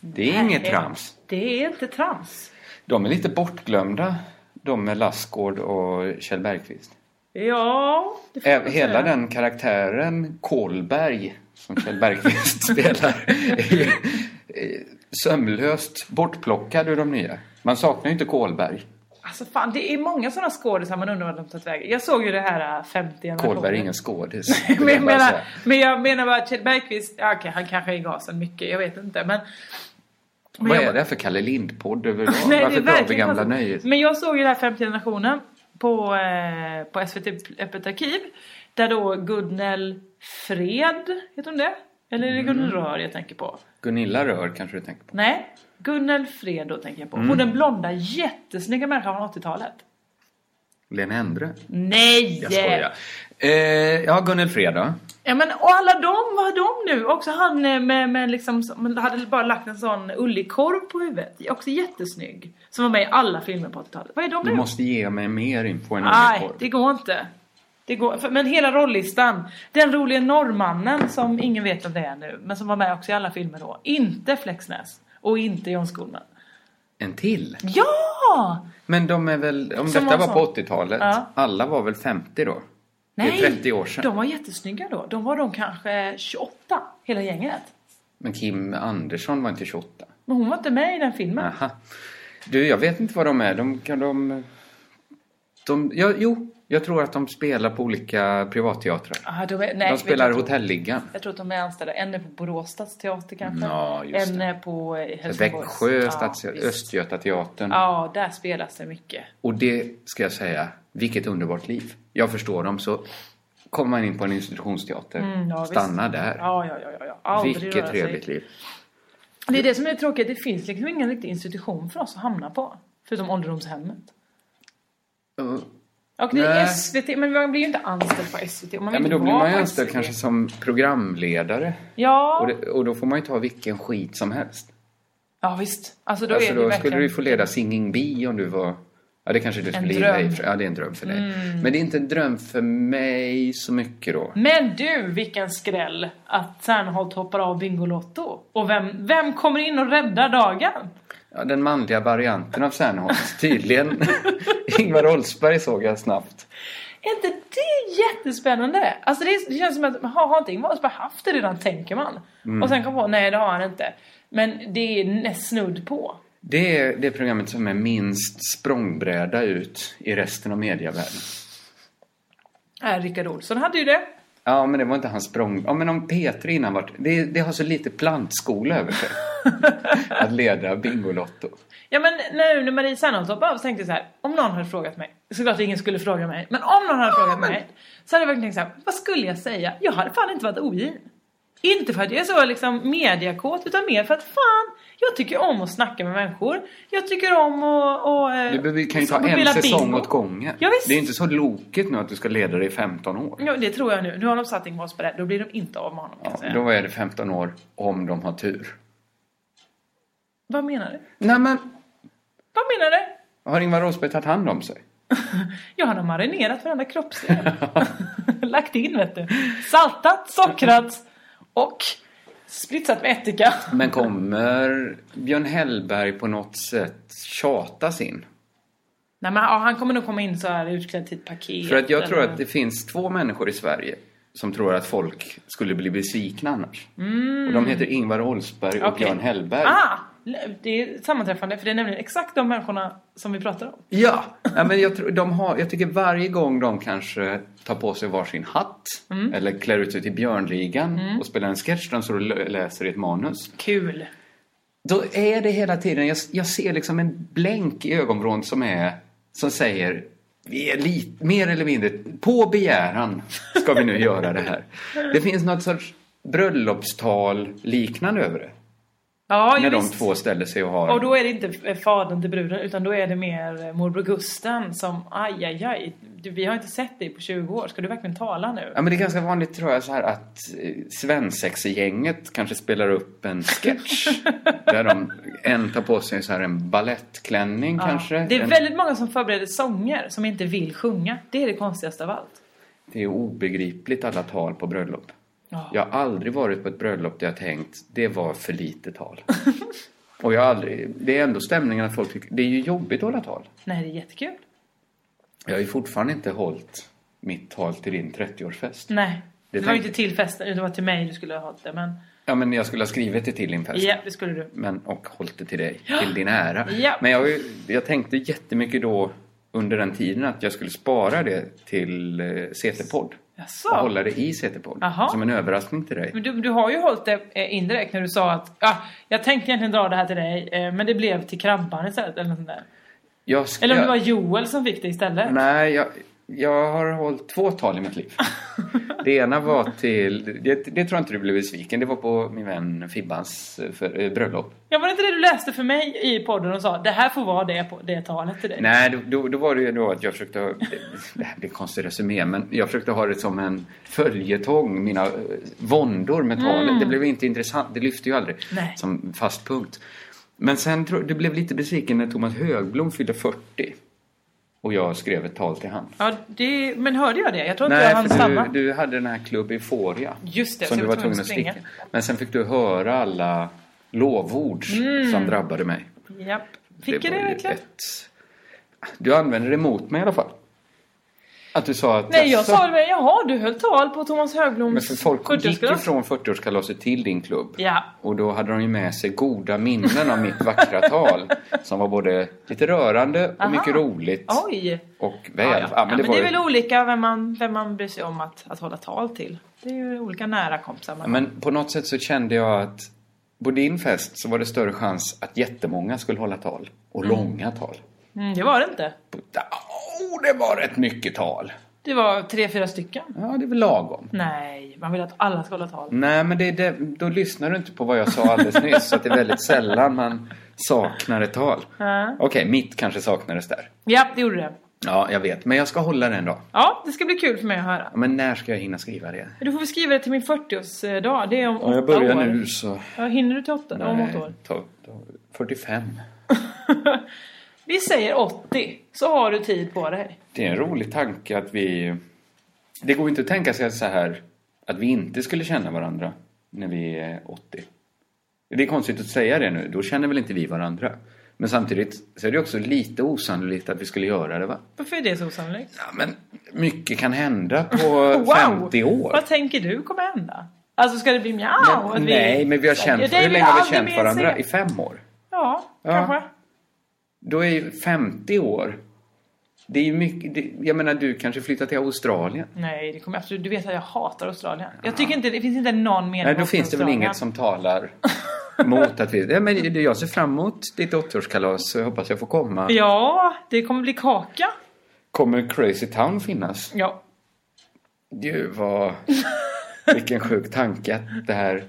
Det är inget trams.
Det är inte trams.
De är lite bortglömda, de med Lassgård och Kjell Bergqvist.
Ja, det får
Ä-
man
Hela
säga.
den karaktären Kolberg som Kjell Bergqvist spelar är ju eh, sömlöst bortplockad ur de nya. Man saknar ju inte Kolberg.
Alltså fan, det är många sådana skådisar man undrar vad de tagit vägen. Jag såg ju det här äh, 50 generationen.
Kolberg är ingen skådis. vill
men, jag
jag bara
menar,
säga.
men jag menar bara att Kjell Bergqvist, ja, okej, han kanske är i gasen mycket, jag vet inte. Men, men
Vad
jag-
är det här för Kalle Lind-podd överlag?
Nej, det är
Varför drar vi
verkligen
gamla
konstigt.
nöjet?
Men jag såg ju det här 50 generationen på, eh, på SVT Öppet arkiv. Där då Gudnell Fred, heter hon det? Eller är det Gunnel
Mm.
Rör jag tänker på?
Gunilla Rör kanske du tänker på.
Nej, Gunnel Fredo tänker jag på. Hon
Mm.
den blonda jättesnygga människan från 80-talet.
Lena Endre?
Nej!
Jag skojar. Eh, ja, Gunnel Freda.
Ja men och alla de, vad har de nu? Också han eh, med, med liksom, som hade bara lagt en sån ullig korv på huvudet. Också jättesnygg. Som var med i alla filmer på 80-talet. Vad är de
Du
nu?
måste ge mig mer info än
Nej,
olyckor.
det går inte. Det går, för, men hela rollistan. Den roliga norrmannen som ingen vet om det är nu. Men som var med också i alla filmer då. Inte Flexnäs. Och inte John Skolman.
En till?
Ja!
Men de är väl, om
Som
Mm, detta
var
var på
sån.
80-talet,
Ja.
alla var väl 50 då?
Nej,
Det är 30 år sedan.
de var jättesnygga då. De var de kanske 28, hela gänget.
Men Kim Andersson var inte 28.
Men hon var inte med i den filmen.
Aha. Du, jag vet inte vad de är. De kan de... de ja, jo, jag tror att de spelar på olika privatteatrar.
Ah, de, är, nej,
de
vet
spelar
inte.
Hotelligan.
Jag tror att de är anställda. En är på Borås stadsteater kanske.
Ja, just
en
det.
är på eh, Helsingborgs.
Växjö, stads,
visst.
Östgötateatern.
Ja, där spelas det mycket.
Och det ska jag säga, vilket underbart liv. Jag förstår dem. Så kommer man in på en institutionsteater,
Mm, ja, visst.
stanna där.
Ja, ja, ja. ja, ja. Aldrig röra
vilket
sig.
trevligt liv.
Det är det som är tråkigt. Det finns liksom ingen riktig institution för oss att hamna på. Förutom ålderdomshemmet.
Uh,
Och det är
Nej.
SVT, men man blir ju inte anställd på SVT. och Man
Ja, men
vill
då
inte
blir
vara
man ju
på
anställd
SVT.
kanske som programledare.
Ja,
Och, det, och då får man ju ta vilken skit som helst.
ja visst. Alltså då
alltså
är
då
det verkligen...
skulle du ju få leda Singing Bee om du var... Ja, det kanske du skulle gilla
dröm.
i och för- Ja, det är en dröm för dig.
Mm.
Men det är inte en dröm för mig så mycket då.
Men du, vilken skräll att Serneholt hoppar av Bingolotto. Och vem, vem kommer in och räddar dagen?
Ja, den manliga varianten av Serneholt, tydligen. Ingvar Oldsberg såg jag snabbt.
Är inte det jättespännande? Alltså det, är, det känns som att, har, har inte Ingvar Oldsberg haft det redan, tänker man.
Mm.
Och sen kom på, nej det har han inte. Men det är nä- snudd på.
Det är det programmet som är minst språngbräda ut i resten av medievärlden.
Äh, Rickard Olsson hade ju det.
Ja, men det var inte hans språng... Ja, men om Petri innan vart... Det, det har så lite plantskola över sig. att leda Bingolotto.
Ja men nu när Marie Serneholt hoppade av så tänkte jag så här, om någon hade frågat mig, såklart ingen skulle fråga mig, men om någon hade frågat mig så hade jag verkligen tänkt så här, vad skulle jag säga? Jag hade fan inte varit ogin. Inte för att jag är så liksom mediakåt utan mer för att fan, jag tycker om att snacka med människor. Jag tycker om att... Och, eh,
Du behöver- kan ju ta
att
en
spela
säsong
bingo.
åt gången.
Ja, visst.
Det är inte så loket nu att du ska leda det i 15 år.
Ja, det tror jag nu. Nu har de satt Ingvar Oldsberg där, då blir de inte av med honom kan jag säga.
Ja, då är det 15 år om de har tur.
Vad menar du?
Nej men,
Vad menar du?
har Ingvar Rosberg tagit hand om sig?
Ja, han har marinerat varenda kroppsdel. Lagt in vet du. Saltat, sockrat och spritsat med ättika.
Men kommer Björn Hellberg på något sätt tjatas in?
Nej men ja, han kommer nog komma in så här utklädd till ett paket.
För att jag tror
eller-
att det finns två människor i Sverige som tror att folk skulle bli besvikna annars. Och de heter Ingvar Oldsberg och
Mm. Okej.
Björn Hellberg.
Ah! Det är sammanträffande för det är nämligen exakt de människorna som vi pratar om.
Ja, ja men jag, tror, de har, jag tycker varje gång de kanske tar på sig varsin hatt
Mm.
eller klär ut sig till Björnligan och spelar en sketch där de står och lö- läser i ett manus.
Kul!
Då är det hela tiden, jag, jag ser liksom en blänk i ögonvrån som är, som säger vi är lite, mer eller mindre, på begäran ska vi nu göra det här. Det finns något sorts bröllopstal liknande över det.
Ja,
när
ju
de
visst.
två ställer sig och har...
Och då är det inte eh, fadern till bruden utan då är det mer eh, morbror Gusten som aj, aj, aj. Du, vi har inte sett dig på 20 år, ska du verkligen tala nu?
Ja, men det är ganska vanligt tror jag så här att eh, svensexgänget kanske spelar upp en sketch. där de, en tar på sig så här en ballettklänning
Ja.
kanske.
Det är
en,
väldigt många som förbereder sånger som inte vill sjunga. Det är det konstigaste av allt.
det är obegripligt alla tal på bröllop.
Ja.
Jag har aldrig varit på ett bröllop där jag tänkt det var för lite tal. Och jag har aldrig, det är ändå stämningen att folk tycker det är ju jobbigt att hålla tal.
Nej, det är jättekul.
Jag har ju fortfarande inte hållit mitt tal till din 30-årsfest.
Nej. Det,
Det
var ju
tänkte-
inte till festen, det var till mig du skulle ha hållit det. Men
Ja men jag skulle ha skrivit det till din fest.
ja, det skulle du.
men, och hållit det till dig, till din ära.
Ja.
Men jag, har ju- jag tänkte jättemycket då under den tiden att jag skulle spara det till eh, CT-podd.
Jaså?
Och hålla det i CT-podd.
Aha.
Som en överraskning till dig.
Men du, du har ju hållit det eh, indirekt när du sa att ah, jag tänkte egentligen dra det här till dig eh, men det blev till krampan istället eller något sånt där.
Jag ska,
Eller om det var Joel som fick det istället.
Nej, jag, jag har hållit två tal i mitt liv. Det ena var till, det, det tror jag inte du blev besviken, det var på min vän Fibbans eh, för, eh, bröllop.
Jag var det inte det du läste för mig i podden och sa det här får vara det, på, det talet till dig?
Nej, då, då, då var det ju då att jag försökte, ha- det, det här blir konstigt resumé, men jag försökte ha det som en följetong, mina eh, våndor med talet. Det blev inte intressant, det lyfte ju aldrig
Nej.
som fast punkt. Men sen tror- du blev lite besviken när Thomas Högblom fyllde 40 och jag skrev ett tal till han.
Ja, det, men hörde jag det? Jag tror inte
Nej,
jag hann stanna.
för du, du hade den här klubb Euphoria.
Just det, så
som du
jag
var
var
tvungen att
tvungen att
sticka. Men sen fick du höra alla lovord som drabbade mig.
Japp. Fick jag
var
det
ju
verkligen?
ett- Du använde det mot mig i alla fall. Att du sa att...
Nej, jag
"Jaså?"
sa det väl, jaha du höll tal på Thomas Högbloms
Alltså, Men för folk gick ju
sjuttiosekalas.
från 40-årskalaset till din klubb.
Ja.
Och då hade de ju med sig goda minnen av mitt vackra tal. Som var både lite rörande och
Aha.
mycket roligt.
Oj!
Och
Ja,
väl...
ja. Ja, men det,
var
är
ju-
väl olika vem man, vem man bryr sig om att, att hålla tal till. Det är ju olika nära kompisar man
Men på något sätt så kände jag att på din fest så var det större chans att jättemånga skulle hålla tal. Och långa tal.
mm, Det var det inte.
Oh, det var rätt mycket tal.
Det var tre, fyra stycken.
Ja, det är väl lagom.
Nej, man vill att alla ska hålla tal.
Nej, men det är det, då lyssnar du inte på vad jag sa alldeles nyss. Så att det är väldigt sällan man saknar ett tal.
Ja.
Okej, mitt kanske saknades där.
Ja, det gjorde det.
Ja, jag vet. Men jag ska hålla det en dag.
Ja, det ska bli kul för mig att höra.
Ja, Men när ska jag hinna skriva det?
Du får väl skriva det till min 40-årsdag. Det är om åtta år.
så...
Ja, hinner du till åtta? om åtta år.
ta, ta, 45.
Vi säger 80, så har du tid på dig.
Det är en rolig tanke att vi... Det går ju inte att tänka sig så här att vi inte skulle känna varandra när vi är 80. Det är konstigt att säga det nu, då känner väl inte vi varandra. Men samtidigt så är det också lite osannolikt att vi skulle göra det va?
Varför är det så osannolikt?
Ja, men mycket kan hända på 50 år.
Vad tänker du kommer hända? Alltså ska det bli mjau? att
Men, nej, men vi har
Ja,
känt...
det är
Hur
vi
länge har vi
aldrig
känt
mer
varandra?
se.
I fem år?
Ja,
Ja.
kanske.
Då är ju 50 år... Det är ju mycket... Det, jag menar, du kanske flyttar till Australien.
Nej, det kommer absolut. Du vet att jag hatar Australien. Jag tycker inte, det finns inte någon mening
Nej,
med
då finns det väl
Australien.
inget som talar mot att vi... Ja, men jag ser fram emot ditt 80-årskalas så jag hoppas jag får komma.
Ja, det kommer bli kaka.
Kommer Crazy Town finnas?
Ja.
Gud vad... Vilken sjuk tanke att det här...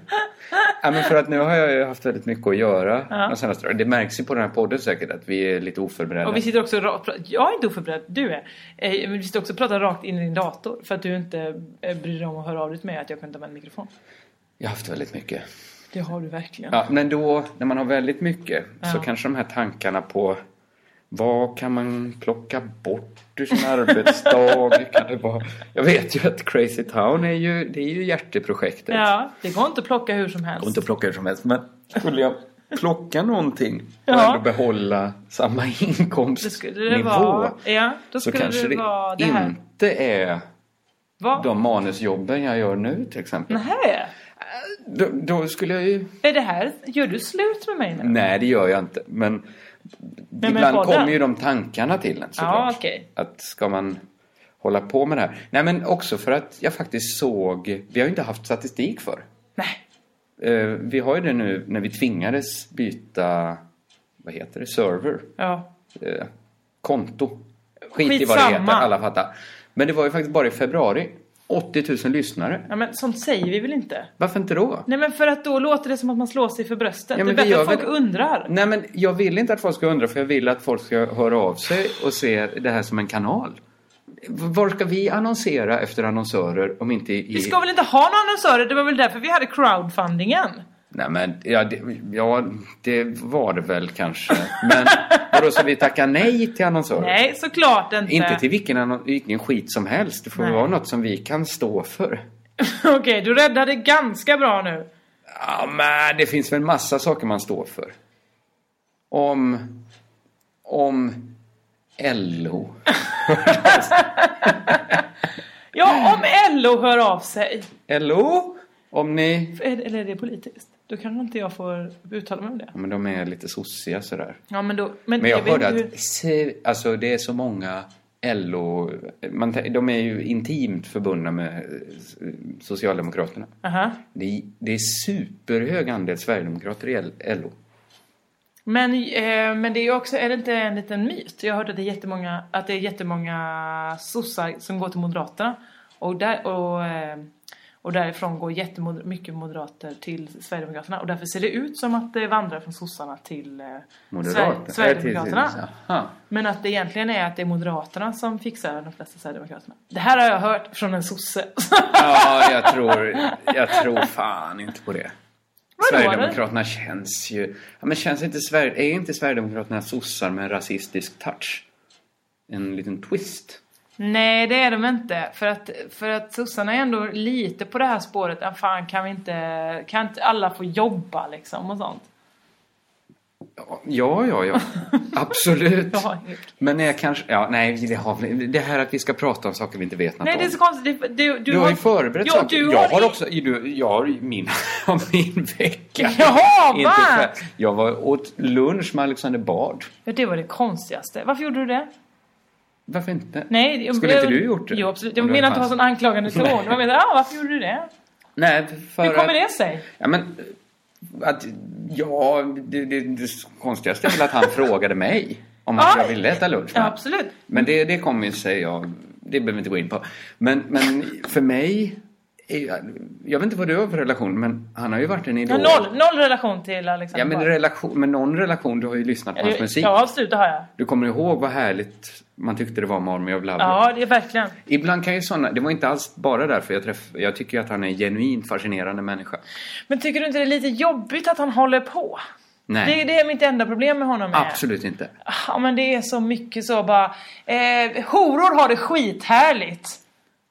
Ja, men för att nu har jag ju haft väldigt mycket att göra de senaste dagarna. Det märks ju på den här podden säkert att vi är lite oförberedda.
Och vi sitter också rakt, jag är inte oförberedd, du är. Eh, Men vi sitter också och pratar rakt in i din dator för att du inte eh, bryr dig om att höra av dig till mig att jag kan ta med en mikrofon.
Jag har haft väldigt mycket.
Det har du verkligen.
Ja, men då, när man har väldigt mycket så kanske de här tankarna på vad kan man plocka bort ur sin arbetsdag? Hur kan det vara? Jag vet ju att Crazy Town är ju, det är ju hjärteprojektet.
Ja, det går inte att plocka hur som helst.
Och inte plocka hur som helst, men skulle jag plocka någonting och
Ja.
ändå behålla samma
Då
inkomstnivå
skulle det vara... Ja, då
så
skulle
kanske
det,
det,
vara det här.
inte är
Vad?
de manusjobben jag gör nu till exempel.
Nähä?
Då, då skulle jag ju
Är det här... Gör du slut med mig nu?
Nej, det gör jag inte. Men
men
ibland
podden?
kommer ju de tankarna till en såklart.
okej.
Att ska man hålla på med det här? Nej, men också för att jag faktiskt såg... Vi har ju inte haft statistik för.
Nej.
Eh, Vi har ju det nu när vi tvingades byta... Vad heter det? Server.
Ja.
Eh, Konto. Skit i vad det
Skitsamma.
heter, alla fattar. Men det var ju faktiskt bara i februari. 80 000 lyssnare.
ja, men sånt säger vi väl inte?
Varför inte då?
Nej, men för att då låter det som att man slår sig för bröstet.
Ja,
det är
men vi
bättre
gör
att folk
väl-
undrar.
Nej, men jag vill inte att folk ska undra för jag vill att folk ska höra av sig och se det här som en kanal. Var ska vi annonsera efter annonsörer om inte i...
Vi ska väl inte ha några annonsörer? Det var väl därför vi hade crowdfundingen?
Nej, men ja det, ja, det var det väl kanske. Men vadå, så vi tackar nej till annonsörer?
Nej, såklart inte.
Inte till vilken, annon- vilken skit som helst. Det får
Nej.
vara något som vi kan stå för.
Okej, du räddade ganska bra nu.
Ja, men det finns väl massa saker man står för. Om... Om... LO.
Ja, om LO hör av sig.
LO? Om ni...
Är det- Eller är det politiskt? Då kanske inte jag får uttala mig om det.
Ja, men de är lite sossiga sådär.
Ja, men då...
Men jag
vet
hörde
inte hur-
att se- alltså, det är så många LO... Man, tän- de är ju intimt förbundna med eh, Socialdemokraterna.
Aha.
Det, det är superhög andel Sverigedemokrater i L- LO.
Men, eh, men det är ju också, är det inte en liten myt? Jag hörde att det är jättemånga, att det är jättemånga sossar som går till Moderaterna. Och, där, och, eh, och därifrån går jättemycket moderater till Sverigedemokraterna. Och därför ser det ut som att det vandrar från sossarna till eh, Sver-
Moderaterna.
Sverigedemokraterna.
Aha.
Men att det egentligen är att det är Moderaterna som fixar de flesta Sverigedemokraterna. Det här har jag hört från en sosse.
Ja, jag tror, jag tror fan inte på det.
Vadå,
Sverigedemokraterna känns ju... Ja, men känns inte Sver- är inte Sverigedemokraterna sossar med en rasistisk touch? En liten twist.
Nej, det är de inte. För att, för att sossarna är ändå lite på det här spåret. Ah, fan, kan vi inte... Kan inte alla få jobba liksom och sånt?
Ja, ja, ja. Absolut.
Ja, helt.
Men jag kanske... Ja, nej, det, har, väl- det här att vi ska prata om saker vi inte vet något
Nej,
om.
Alltså, det är så konstigt. Du, du,
Du har ju förberett
ja,
saker.
Du
jag har också... Alltså, Du, jag har ju min, om min vecka.
Jaha,
Inte
va?
själv. Jag var åt lunch med Alexander Bard.
Ja, det var det konstigaste. Varför gjorde du det?
Varför inte?
Nej, jag-
Skulle
jag,
inte du gjort det?
Jo, absolut.
Om
Jag
du
menar
hade
inte ha
chansen.
sån anklagande ton.
Nej.
Jag menar, ah, varför gjorde du det?
Nej, för
Hur kommer
att,
det sig?
Ja, men, att, ja det, det, det konstigaste är väl att han frågade mig om att
Ja.
jag ville äta lunch.
Ja,
med.
absolut.
Men det, det kommer ju sig av, det behöver vi inte gå in på. Men, men för mig, är, jag vet inte vad du har för relation, men han har ju varit en
Ja,
idol.
noll, noll relation till Alexander
Ja, men,
Bard.
relation, men någon relation, du har ju lyssnat på hans musik.
Ja, absolut, det har jag.
Du kommer ihåg vad härligt man tyckte det var med Army of Love.
Ja, det är verkligen.
Ibland kan ju sådana, det var inte alls bara därför jag träff, jag tycker ju att han är en genuint fascinerande människa.
Men tycker du inte det är lite jobbigt att han håller på?
Nej.
Det, det är mitt enda problem med honom. är-
Absolut inte.
Ja, men det är så mycket så bara... Eh, horor har det skithärligt.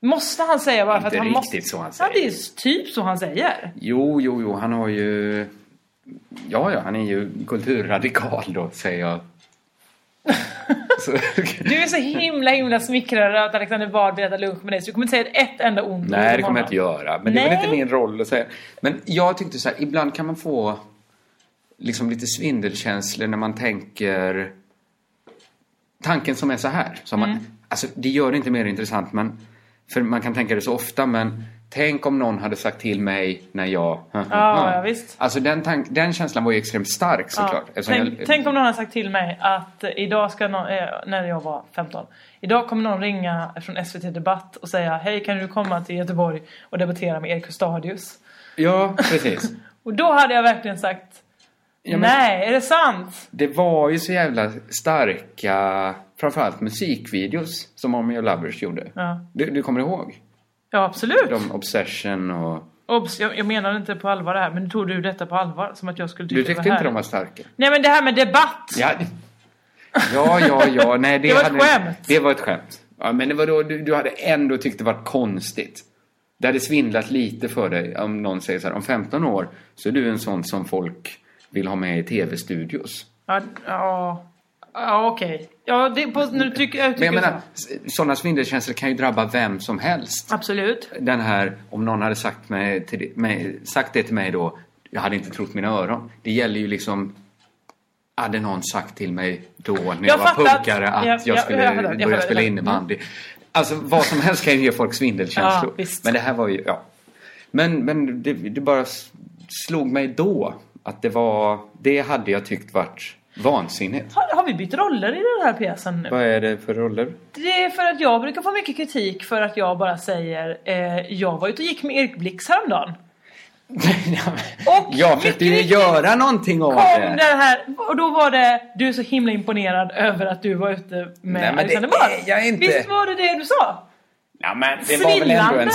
Måste han säga bara för att
Inte
han måste...
riktigt så han
Ja,
säger.
det är typ så han säger.
Jo, jo, jo, han har ju... Ja, ja, han är ju kulturradikal då, säger jag. Så...
Du är så himla himla smickrad att Alexander Bard vill äta lunch med dig så du kommer inte säga ett enda ont ord
Nej, det kommer jag
om honom.
inte göra. Men det är väl
Nej.
inte min roll att säga. Men jag tyckte så här, ibland kan man få liksom lite svindelkänslor när man tänker... Tanken som är så här. Som
Mm.
man, alltså, det gör det inte mer intressant, men... För man kan tänka det så ofta, men... Tänk om någon hade sagt till mig när jag...
Ja, ja, visst.
Alltså den, tank, den känslan var ju extremt stark såklart.
Ja.
eftersom
Tänk,
jag-
tänk om någon har sagt till mig att eh, idag ska någon, eh, när jag var 15, idag kommer någon ringa från SVT Debatt och säga hej kan du komma till Göteborg och debattera med Erik Stadius?
Ja, precis.
Och då hade jag verkligen sagt
Ja, men-
nej, är det sant?
Det var ju så jävla starka, framförallt musikvideos som Army of Lovers gjorde.
Ja.
Du, du kommer ihåg?
Ja absolut!
De Obsession och...
Obs, jag, jag menar inte på allvar det här men tog du detta på allvar? Som att jag skulle
Du
tycka det
tyckte
var
inte
här.
de var starka?
Nej men det här med debatt!
Ja, ja, ja. ja. Nej, det,
Det var ett
hade,
skämt.
Det var ett skämt. Ja, men det var då, du, du hade ändå tyckt det var konstigt. Det hade svindlat lite för dig om någon säger så här, om 15 år så är du en sån som folk vill ha med i tv-studios.
Ja, ja, ja okej. Ja, det, på, när du trycker, jag
Men
tycker
jag menar,
så.
sådana svindelkänslor kan ju drabba vem som helst.
Absolut.
den här, om någon hade sagt, mig till, mig, sagt det till mig då, jag hade inte trott mina öron. Det gäller ju liksom, hade någon sagt till mig då när jag,
Jag
var
fattar.
punkare att
Ja, ja,
jag skulle
jag fattar, jag
börja
fattar. Mm.
spela innebandy. Alltså vad som helst kan ju ge folk
Ja,
svindelkänslor.
visst.
men det här var ju, ja. Men, men det, det bara s- slog mig då att det var, det hade jag tyckt varit vansinnigt.
Har, har vi bytt roller i den här pjäsen nu?
Vad är det för roller?
Det är för att jag brukar få mycket kritik för att jag bara säger eh, jag var ute och gick med Erik Blix häromdagen. Och
jag försökte ju
mycket
göra någonting av
Kom
det.
den här och då var det du är så himla imponerad över att du var ute med
men det
Alexander Bard.
är jag inte.
Visst var det det du sa?
Ja, men det var väl ändå
Svindlande.
en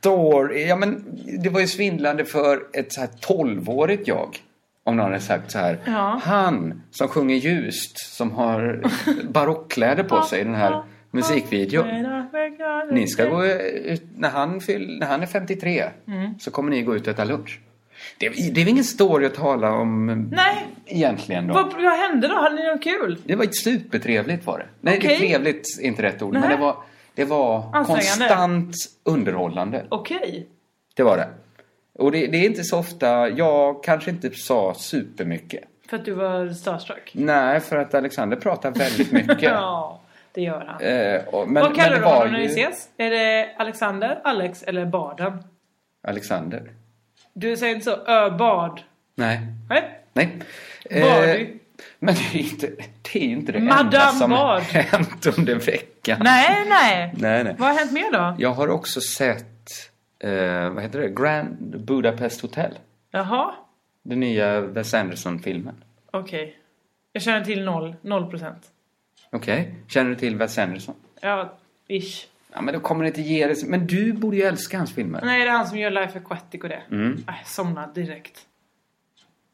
story. Ja, men det var ju svindlande för ett så här tolvårigt jag. Om någon hade sagt så här.
Ja.
Han som sjunger ljust, som har barockkläder på sig i den här musikvideon. Ni ska gå ut, när han, fyll, när han är 53
Mm.
så kommer ni gå ut och äta lunch. Det, det är väl ingen story att tala om mm,
Nej.
egentligen då.
Vad, vad hände då? Hade ni något kul?
Det var supertrevligt var det. Nej, det
Okej.
är trevligt är inte rätt ord.
Nej.
Men det var, det var
Ansträngande.
konstant underhållande.
Okej.
Det var det. Och det, det är inte så ofta, jag kanske inte sa supermycket.
För att du var starstruck?
Nej, för att Alexander pratar väldigt mycket.
Ja, det gör han.
Eh, och- men,
Vad
men
kallar
det
du
var
honom när
ju
ni ses? Är det Alexander, Alex eller Barden?
Alexander.
Du säger inte så, ö Bard?
Nej.
Nej?
Nej.
Bardi.
Men det är inte det, är inte det enda
Madame
som har
Bard.
hänt under veckan.
Nej, nej.
Nej, nej.
Vad har hänt mer då?
Jag har också sett, eh, vad heter det, Grand Budapest Hotel.
Jaha,
Den nya Wes Anderson-filmen.
okej. Jag känner till noll, noll procent.
Okej, känner du till Wes Anderson?
Ja, ish.
Ja, men då kommer det inte ge dig... Men du borde ju älska hans filmer.
Nej, det är han som gör Life Aquatic och det. Mm. Äh, somnade direkt.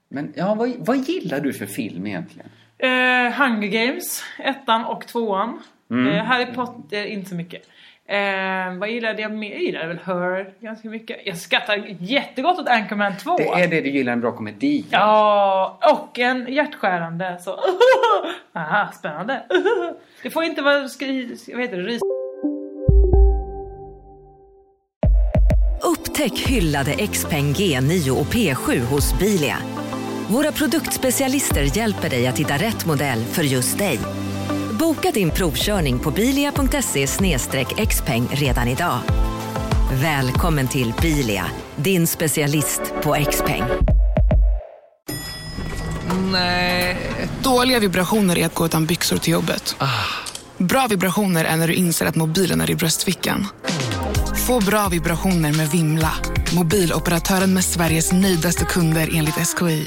Men ja, vad, vad gillar du för film egentligen?
Eh, Hunger Games, ettan och tvåan.
Mm.
Eh, Harry Potter, inte så mycket. Eh, vad gillade jag mer? Jag gillade väl Her ganska mycket. Jag skrattar jättegott åt Anchorman 2.
Det är det du gillar, en bra komedi.
Ja, och en hjärtskärande så... Aha, spännande. Det får inte vara skri... Vad heter det? Ris...
Upptäck hyllade XPeng G9 och P7 hos Bilia. Våra produktspecialister hjälper dig att hitta rätt modell för just dig. Boka din provkörning på bilia.se xpeng redan idag. Välkommen till Bilia, din specialist på XPeng.
Dåliga vibrationer är att gå utan byxor till jobbet. Bra vibrationer är när du inser att mobilen är i bröstfickan. Få bra vibrationer med Vimla. Mobiloperatören med Sveriges nöjdaste kunder enligt SKI.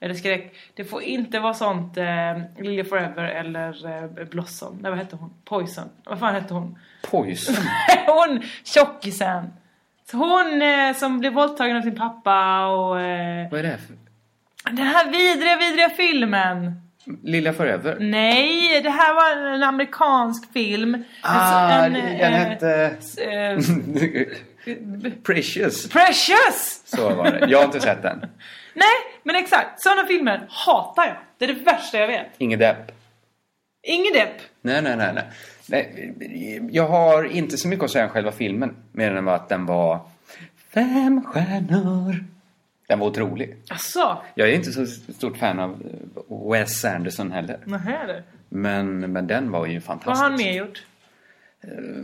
eller skräck. Det får inte vara sånt eh, Lilja Forever eller eh, Blossom. Nej vad hette hon? Poison. Vad fan hette hon?
Poison.
hon tjockisen. Så hon eh, som blev våldtagen av sin pappa och eh,
Vad är det här för...
den här vidriga vidriga filmen.
Lilla Forever?
Nej, det här var en amerikansk film.
Ah,
Alltså, en,
den hette...
eh,
Precious.
Precious!
Så var det. Jag har inte sett den.
Nej, men exakt. Sådana filmer hatar jag. Det är det värsta jag vet.
Ingen depp.
Ingen depp.
Nej, nej, nej, nej. nej. Jag har inte så mycket att säga om själva filmen. Mer än att den var... Fem stjärnor. Den var otrolig.
Asså?
Jag är inte så stort fan av eh, Wes Anderson heller.
Nähä du.
Men, men den var ju
Vad
fantastisk.
har han mer gjort?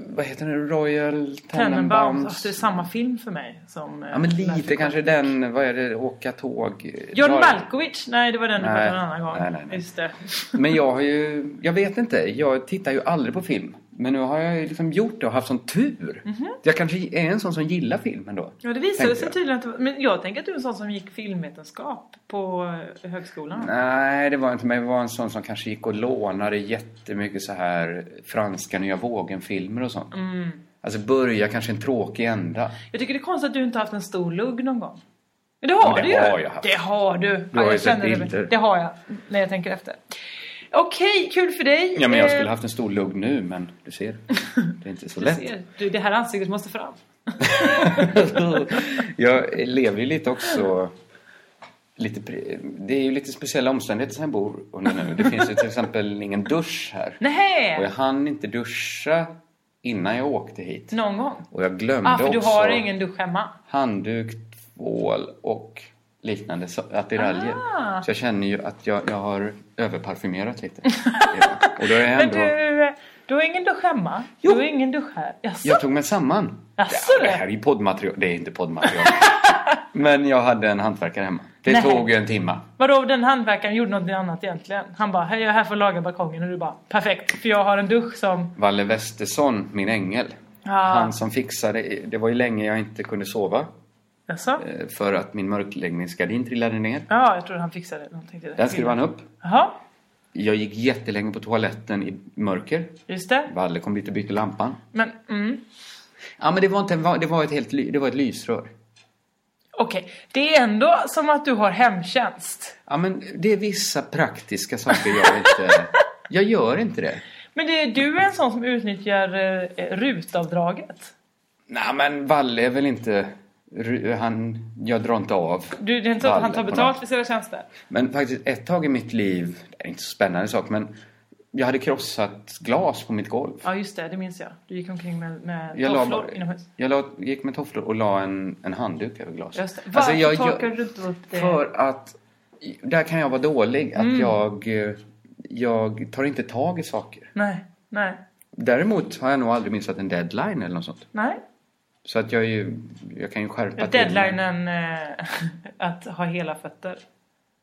Vad heter den? Royal
Tenenbaums.
Tenenbaums?
Alltså, det är samma film för mig som... eh,
Ja, men lite kanske den... Vad är det? Åka tåg?
John
Dra-
Malkovich? Nej, det var den du
Nej.
pratade om en annan gång.
Nej, nej, nej.
Just det.
Men jag har ju... Jag vet inte. Jag tittar ju aldrig på film. Men nu har jag ju liksom gjort det och haft sån tur. Jag kanske är en sån som gillar filmen då.
Ja, det visade
Tänkte
sig
jag.
tydligen att det var- Men jag tänker att du är en sån som gick filmvetenskap på eh, högskolan.
Nej, det var inte mig. Jag var en sån som kanske gick och lånade jättemycket så här franska nya vågen-filmer och sånt. Alltså börja kanske en tråkig ända.
Mm. Jag tycker det är konstigt att du inte har haft en stor lugg någon gång. Men det har
Men
du
det
ju!
har jag haft.
Det har du! Du
har ju
jag
sett
känner det.
bilder.
Det har jag, när jag tänker efter. Okej, kul för dig!
Ja, men jag
Eh,
skulle haft en stor lugg nu, men du ser. Det är inte så
du
lätt.
ser. Du, det här ansiktet måste fram.
jag lever ju lite också... Lite, pri- det är ju lite speciella omständigheter som jag bor under nu. Det finns ju till exempel ingen dusch här. Och jag
Nej,
hann inte duscha innan jag åkte hit.
Någon gång.
Och jag glömde
Ah, för du
också
har ingen dusch hemma.
handduk, tvål och liknande så- attiraljer.
Ah.
Så jag känner ju att jag, jag har överparfymerat lite. Ja. och då är jag
Men
ändå...
du, eh, du har ingen dusch hemma?
Jo.
Du har ingen dusch här? Jaså?
Jag tog mig samman.
Jaså,
det,
det?
det här är ju poddmaterial. Det är inte poddmaterial. Men jag hade en hantverkare hemma. Det
Nej.
tog ju en timma.
Vadå den handverkaren gjorde någonting annat egentligen? Han bara, hej jag är här för att laga balkongen och du bara, perfekt för jag har en dusch som...
Valle Westesson, min ängel. Han som fixade, det var ju länge jag inte kunde sova
Jaså?
eh, för att min mörkläggningsgardin trillade ner.
Ja, jag trodde han fixade någonting till dig.
Den skrev han upp.
Jaha,
Jag gick jättelänge på toaletten i mörker.
just det.
Valle kom dit och bytte lampan.
Men, mm.
Ja men det var inte en, va- det var ett helt ly, det var ett lysrör.
Okej, det är ändå som att du har hemtjänst.
Ja men det är vissa praktiska saker jag inte, jag gör inte det.
Men det, du är en sån som utnyttjar eh, rutavdraget.
Nej men Valle är väl inte, ru- han, jag drar inte av.
Du, det är inte så att han
Valle
tar
på
betalt
något.
för sina tjänster.
Men faktiskt ett tag i mitt liv, det är inte så spännande sak men jag hade krossat glas på mitt golv.
Ja, just det. Det minns jag. Du gick omkring med, med
Jag, la,
tofflor
bara-
inomhus.
jag la, gick med tofflor och la en, en handduk över glaset.
Just det. Varför
Alltså, jag- jag-
torkade du inte upp det?
För att där kan jag vara dålig. Att
Mm.
jag, eh, jag tar inte tag i saker.
Nej, nej,
Däremot har jag nog aldrig missat en deadline eller något sånt.
nej.
Så att jag, är ju, jag kan ju skärpa
Deadlinen eh, att ha hela fötter.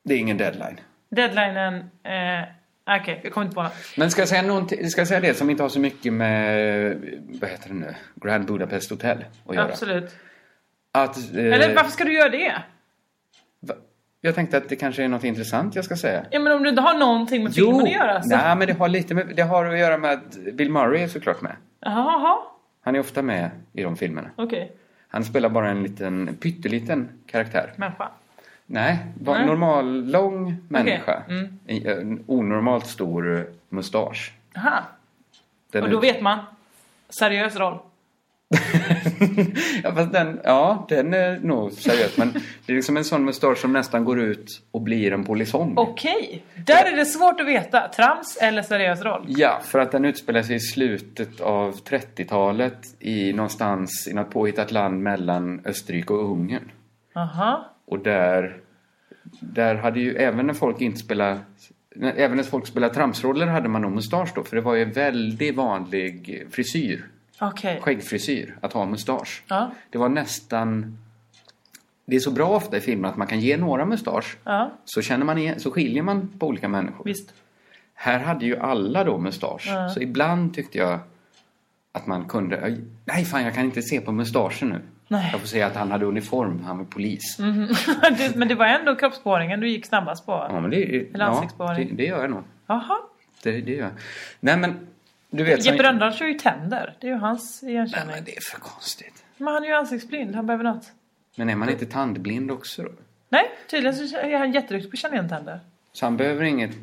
Det är ingen deadline.
Deadlinen, eh, okej, jag kommer inte på något.
Men ska jag säga, någonting, ska jag säga det som inte har så mycket med vad heter det nu? Grand Budapest Hotel att göra?
Absolut.
Att, eh,
Eller varför ska du göra det?
Jag tänkte att det kanske är något intressant jag ska säga.
Ja men om du inte har någonting med filmen att göra så...
nej, men det har lite med, det har att göra med att Bill Murray är såklart med.
Jaha, jaha,
Han är ofta med i de filmerna.
okej.
Han spelar bara en liten, pytteliten karaktär.
Människa.
Nej, bara
Nej.
normal, lång människa.
Okej, mm.
I- En onormalt stor eh, mustasch.
Aha.
Den
Och
är-
då vet man. Seriös roll.
Ja, fast den, ja, den är nog seriös. men det är liksom en sån mustasch som nästan går ut och blir en polisong.
Okej. Där är det svårt att veta. Trams eller seriös roll?
Ja, för att den utspelar sig i slutet av 30-talet i någonstans i något påhittat land mellan Österrike och Ungern.
Aha.
Och där, där hade ju även när folk inte spelade när- Även när folk spelade tramsroller hade man nog mustasch då, för det var ju en väldigt vanlig frisyr,
Okej.
skäggfrisyr, att ha mustasch.
Ja.
Det var nästan... Det är så bra ofta i filmer att man kan ge några mustasch,
Ja.
så, känner man igen, så skiljer man på olika människor.
Visst.
Här hade ju alla då mustasch,
Ja.
så ibland tyckte jag att man kunde... Nej, fan, jag kan inte se på mustaschen nu.
Nej.
Jag får säga att han hade uniform, han var polis.
Mhm. Du- men det var ändå kroppsspåringen du gick snabbast på.
Ja, men det,
Eller
ja, det,
ansiktsbehåring.
det gör jag nog.
Jaha.
Det, det gör jag. Nej, men du vet... som-
Jeppe Rönndahl kör ju tänder. Det är ju hans igenkänning.
Nej, men det är för konstigt.
Men han är ju ansiktsblind. Han behöver något.
Men är man inte tandblind också då?
Nej, tydligen så är han jätteduktig på att känna igen tänder.
Så han behöver inget...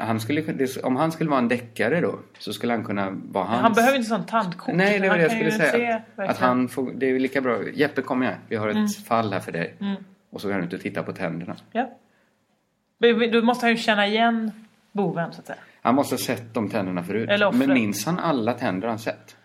Han skulle, det- om han skulle vara en deckare då så skulle han kunna vara hans...
Han behöver inte sånt tandkort.
Nej, det var
Han
det jag
kan
skulle säga.
ju se
att,
verkligen.
att han får, det är ju lika bra. Jeppe kom igen, vi har ett
Mm.
fall här för dig.
Mm.
Och så går han ut och tittar på tänderna.
Ja. Men- men Då måste han ju känna igen boven så att säga.
Han måste alltså, ha sett de tänderna förut.
Eller offret.
Men minns han alla tänder han sett?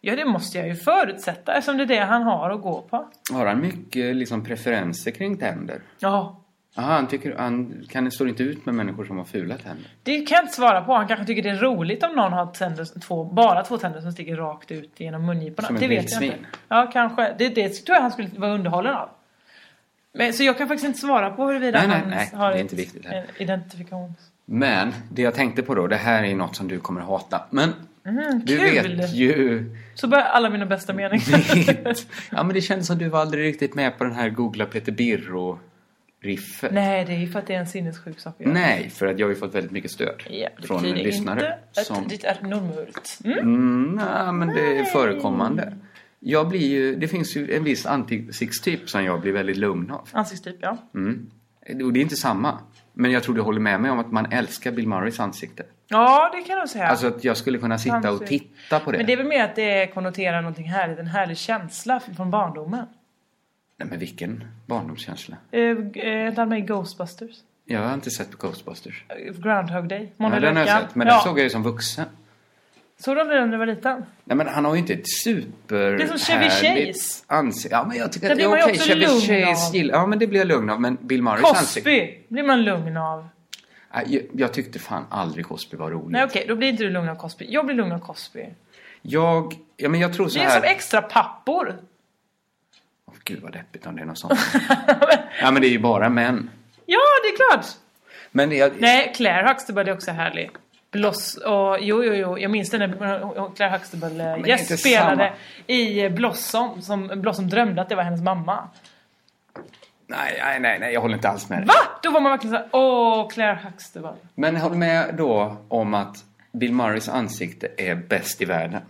Ja, det måste jag ju förutsätta eftersom det är det han har att gå på.
Har han mycket liksom, preferenser kring tänder?
Ja,
Aha, han, tycker, han kan, står inte ut med människor som har fula tänder.
det kan jag inte svara på. Han kanske tycker det är roligt om någon har tänder, två, bara två tänder som sticker rakt ut genom mungiporna.
Som ett
det vet jag
vildsvin.
inte. Ja, kanske. Det, det tror jag han skulle vara underhållen av. Men, så jag kan faktiskt inte svara på huruvida
Nej, nej,
han
nej,
har
det är
ett-
inte viktigt här.
en identifikation.
Men det jag tänkte på då, det här är ju något som du kommer att hata. Men
Mm,
du
kul!
vet ju...
Så börjar alla mina bästa meningar.
Ja men det kändes som du var aldrig riktigt med på den här googla Peter Birro-riffet.
nej, det är ju för att det är en sinnessjuk sak att göra.
Nej, för att jag har ju fått väldigt mycket stöd
Ja, det
från
betyder
lyssnare.
inte att
som...
det är normalt. Mm.
Mm, nej, men det är
Nej.
förekommande. Jag blir ju, det finns ju en viss ansiktstyp som jag blir väldigt lugn av.
Ansiktstyp, ja.
Mm. Och det är inte samma. Men jag tror du håller med mig om att man älskar Bill Murrays ansikte.
Ja, det kan jag nog säga.
Alltså att jag skulle kunna sitta och
Ansikt.
titta på det.
Men det är väl mer att det konnoterar någonting härligt, en härlig känsla f- från barndomen.
Nej men vilken barndomskänsla.
Eh, g- eh, Hette han med i Ghostbusters?
Jag har inte sett Ghostbusters.
Eh, Groundhog Day?
Ja,
Måndag i
den har jag
veckan?
sett, men
ja.
den såg jag ju som vuxen.
Såg du den när du var liten?
Nej men han har ju inte ett super...
Det är som Chevy
härligt
Chase.
Ansikte. Ja men jag tycker
Det
att det
blir
är
man ju
okej.
också
Chevy
lugn
Chase
av.
gillar... Ja men det blir jag lugn av. Men Bill Murrays ansikte...
Cosby blir man lugn av.
Nej, Äh, jag, jag tyckte fan aldrig Cosby var rolig.
Nej okej, då blir inte du lugn av Cosby. Jag blir lugn av Cosby.
Jag... Ja men jag tror så
Vi är som
här...
extra pappor.
Åh, Gud vad deppigt om det är något sånt. ja men det är ju bara män.
Ja, det är klart!
Men jag...
Nej, Claire Huxtable är också härlig. Bloss och jo, jo, jo, jag minns det när eh, Claire Huxtable eh,
Men det är inte
gästspelade i eh, Blossom, som Blossom drömde att det var hennes mamma.
Nej, nej, nej, nej, jag håller inte alls med dig.
Va? Då var man verkligen såhär, åh, Claire Huxtable.
Men håll med då om att Bill Murrays ansikte är bäst i världen.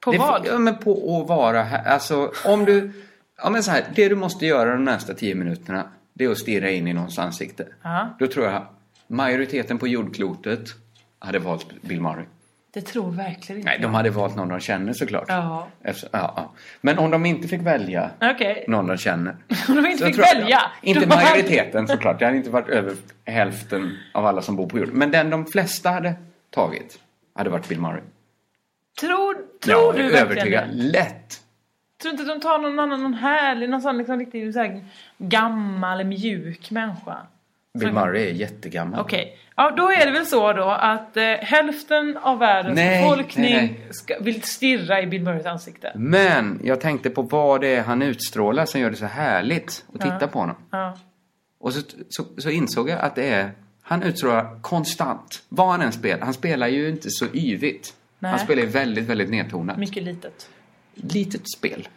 På
det,
vad?
Ja, men på att vara här. Alltså om du... Ja men så här, det du måste göra de nästa tio minuterna det är att stirra in i någons ansikte.
Ja.
Då tror jag majoriteten på jordklotet hade valt Bill Murray.
Det tror verkligen inte
Nej, de hade valt någon de känner såklart.
Ja.
Efter, ja, ja. Men om de inte fick välja
Okej.
någon de känner.
Om de inte
Så
fick
tror jag-
välja.
Inte
då hade-
majoriteten såklart. Det hade inte varit över hälften av alla som bor på jorden. Men den de flesta hade tagit hade varit Bill Murray.
Tror,
jag
tror du
är
verkligen
övertygad.
det?
Lätt.
Tror inte att de tar någon annan, någon härlig, någon sån liksom riktigt så här, gammal, mjuk människa?
Bill Murray är jättegammal.
Okej, ja, då är det väl så då att eh, hälften av världens
Nej,
befolkning
nej, Mm.
Ska, vill stirra i Bill Murrays ansikte.
Men jag tänkte på vad det är han utstrålar som gör det så härligt att
Ja.
titta på honom.
Ja.
Och så, så, så insåg jag att det är, han utstrålar konstant, vad han än spelar. Han spelar ju inte så yvigt.
Nej.
Han spelar ju väldigt, väldigt nedtonat.
Mycket litet.
Litet spel.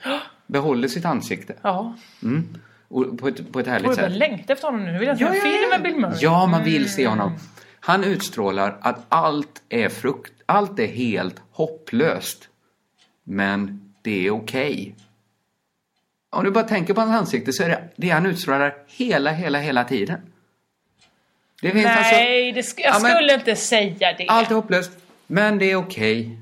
Behåller sitt ansikte.
Ja,
Mm. Och på, ett, på ett
borde
härligt
börja
sätt.
längta efter honom nu. Nu vill jag se
Ja,
en
ja,
film
ja.
med Bill Murray.
Ja, man vill se honom. Han utstrålar att allt är frukt, allt är helt hopplöst. Men det är okej. Om du bara tänker på hans ansikte så är det det han utstrålar hela, hela, hela tiden. Det finns alltså,
Nej, det sk- jag
Ja, men-
skulle inte säga det.
allt är hopplöst, men det är okej.
Nej,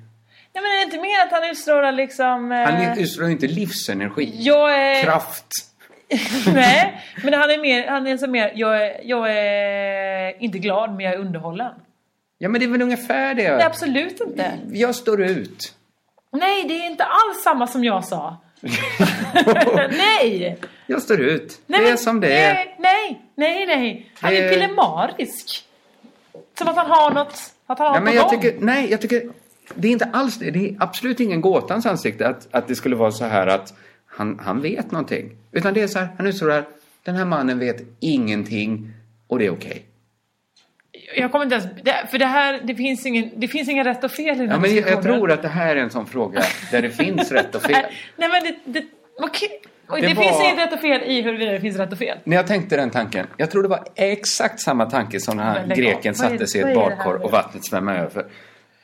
men är det inte mer att han utstrålar liksom... Eh,
Han utstrålar ju inte livsenergi,
jag är...
kraft.
Nej, men han är mer, han är så mer jag, är, jag är inte glad men jag är underhållen.
Ja, men det är väl ungefär
Nej,
det.
absolut inte.
Jag står ut.
Nej, det är inte alls samma som jag sa. nej!
Jag står ut.
nej
det är
men-
som det är.
Nej, nej, nej, nej. Han
Det
är
är-
pillemarisk. Som att han har något, att han har
Nej,
något
men jag
på gång.
tycker, nej, jag tycker det är inte alls det. Det är absolut ingen gåtans ansikte att, att det skulle vara så här att han, han vet någonting. Utan det är så här, han utstrålar, den här mannen vet ingenting och det är okej.
Jag kommer inte ens, det, för det här, det finns ingen, det finns ingen rätt och fel i den
Ja,
här
men jag, jag
diskussionen.
tror att det här är en sån fråga där det finns rätt och fel.
Nej, nej men det, det, okej. Oj,
Det
det, finns
var-
inget rätt och fel i huruvida det finns rätt och fel.
När jag tänkte den tanken, jag tror det var exakt samma tanke som när
Men
han,
lägg av.
greken
Vad är-
satte sig i
vad
ett
är det här
badkar
nu?
och vattnet svämmade över.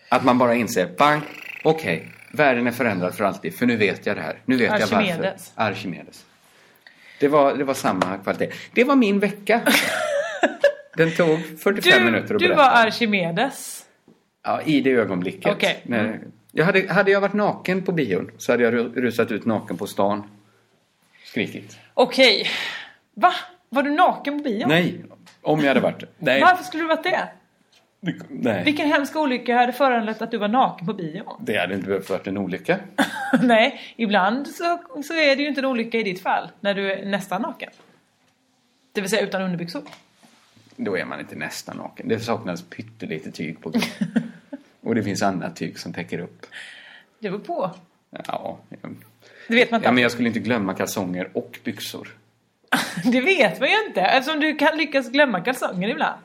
Att man bara inser, bang, okej, världen är förändrad för alltid, för nu vet jag det här. Nu vet jag varför.
Archimedes.
Archimedes. Det var, det var samma kvalitet. Det var min vecka. Den tog 45
Du,
minuter att
du
berätta.
var Archimedes.
Ja, i det ögonblicket.
Okej.
När, jag hade, hade jag varit naken på bion så hade jag ru- rusat ut naken på stan. Skrikit.
Okej. Va? Var du naken på bio?
Nej, om jag hade varit det. Nej.
Varför skulle du varit det?
Nej.
Vilken hemsk olycka hade föranlett att du var naken på bio?
Det hade inte behövt varit en olycka.
Nej, ibland så, så är det ju inte en olycka i ditt fall. När du är nästan naken. Det vill säga utan underbyxor.
Då är man inte nästan naken. Det saknas pyttelite tyg på kroppen. Och det finns annat tyg som täcker upp.
Det beror på.
Ja,
Det vet man inte.
ja men jag skulle inte glömma kalsonger och byxor.
Det vet man ju inte. Eftersom du kan lyckas glömma kalsonger ibland.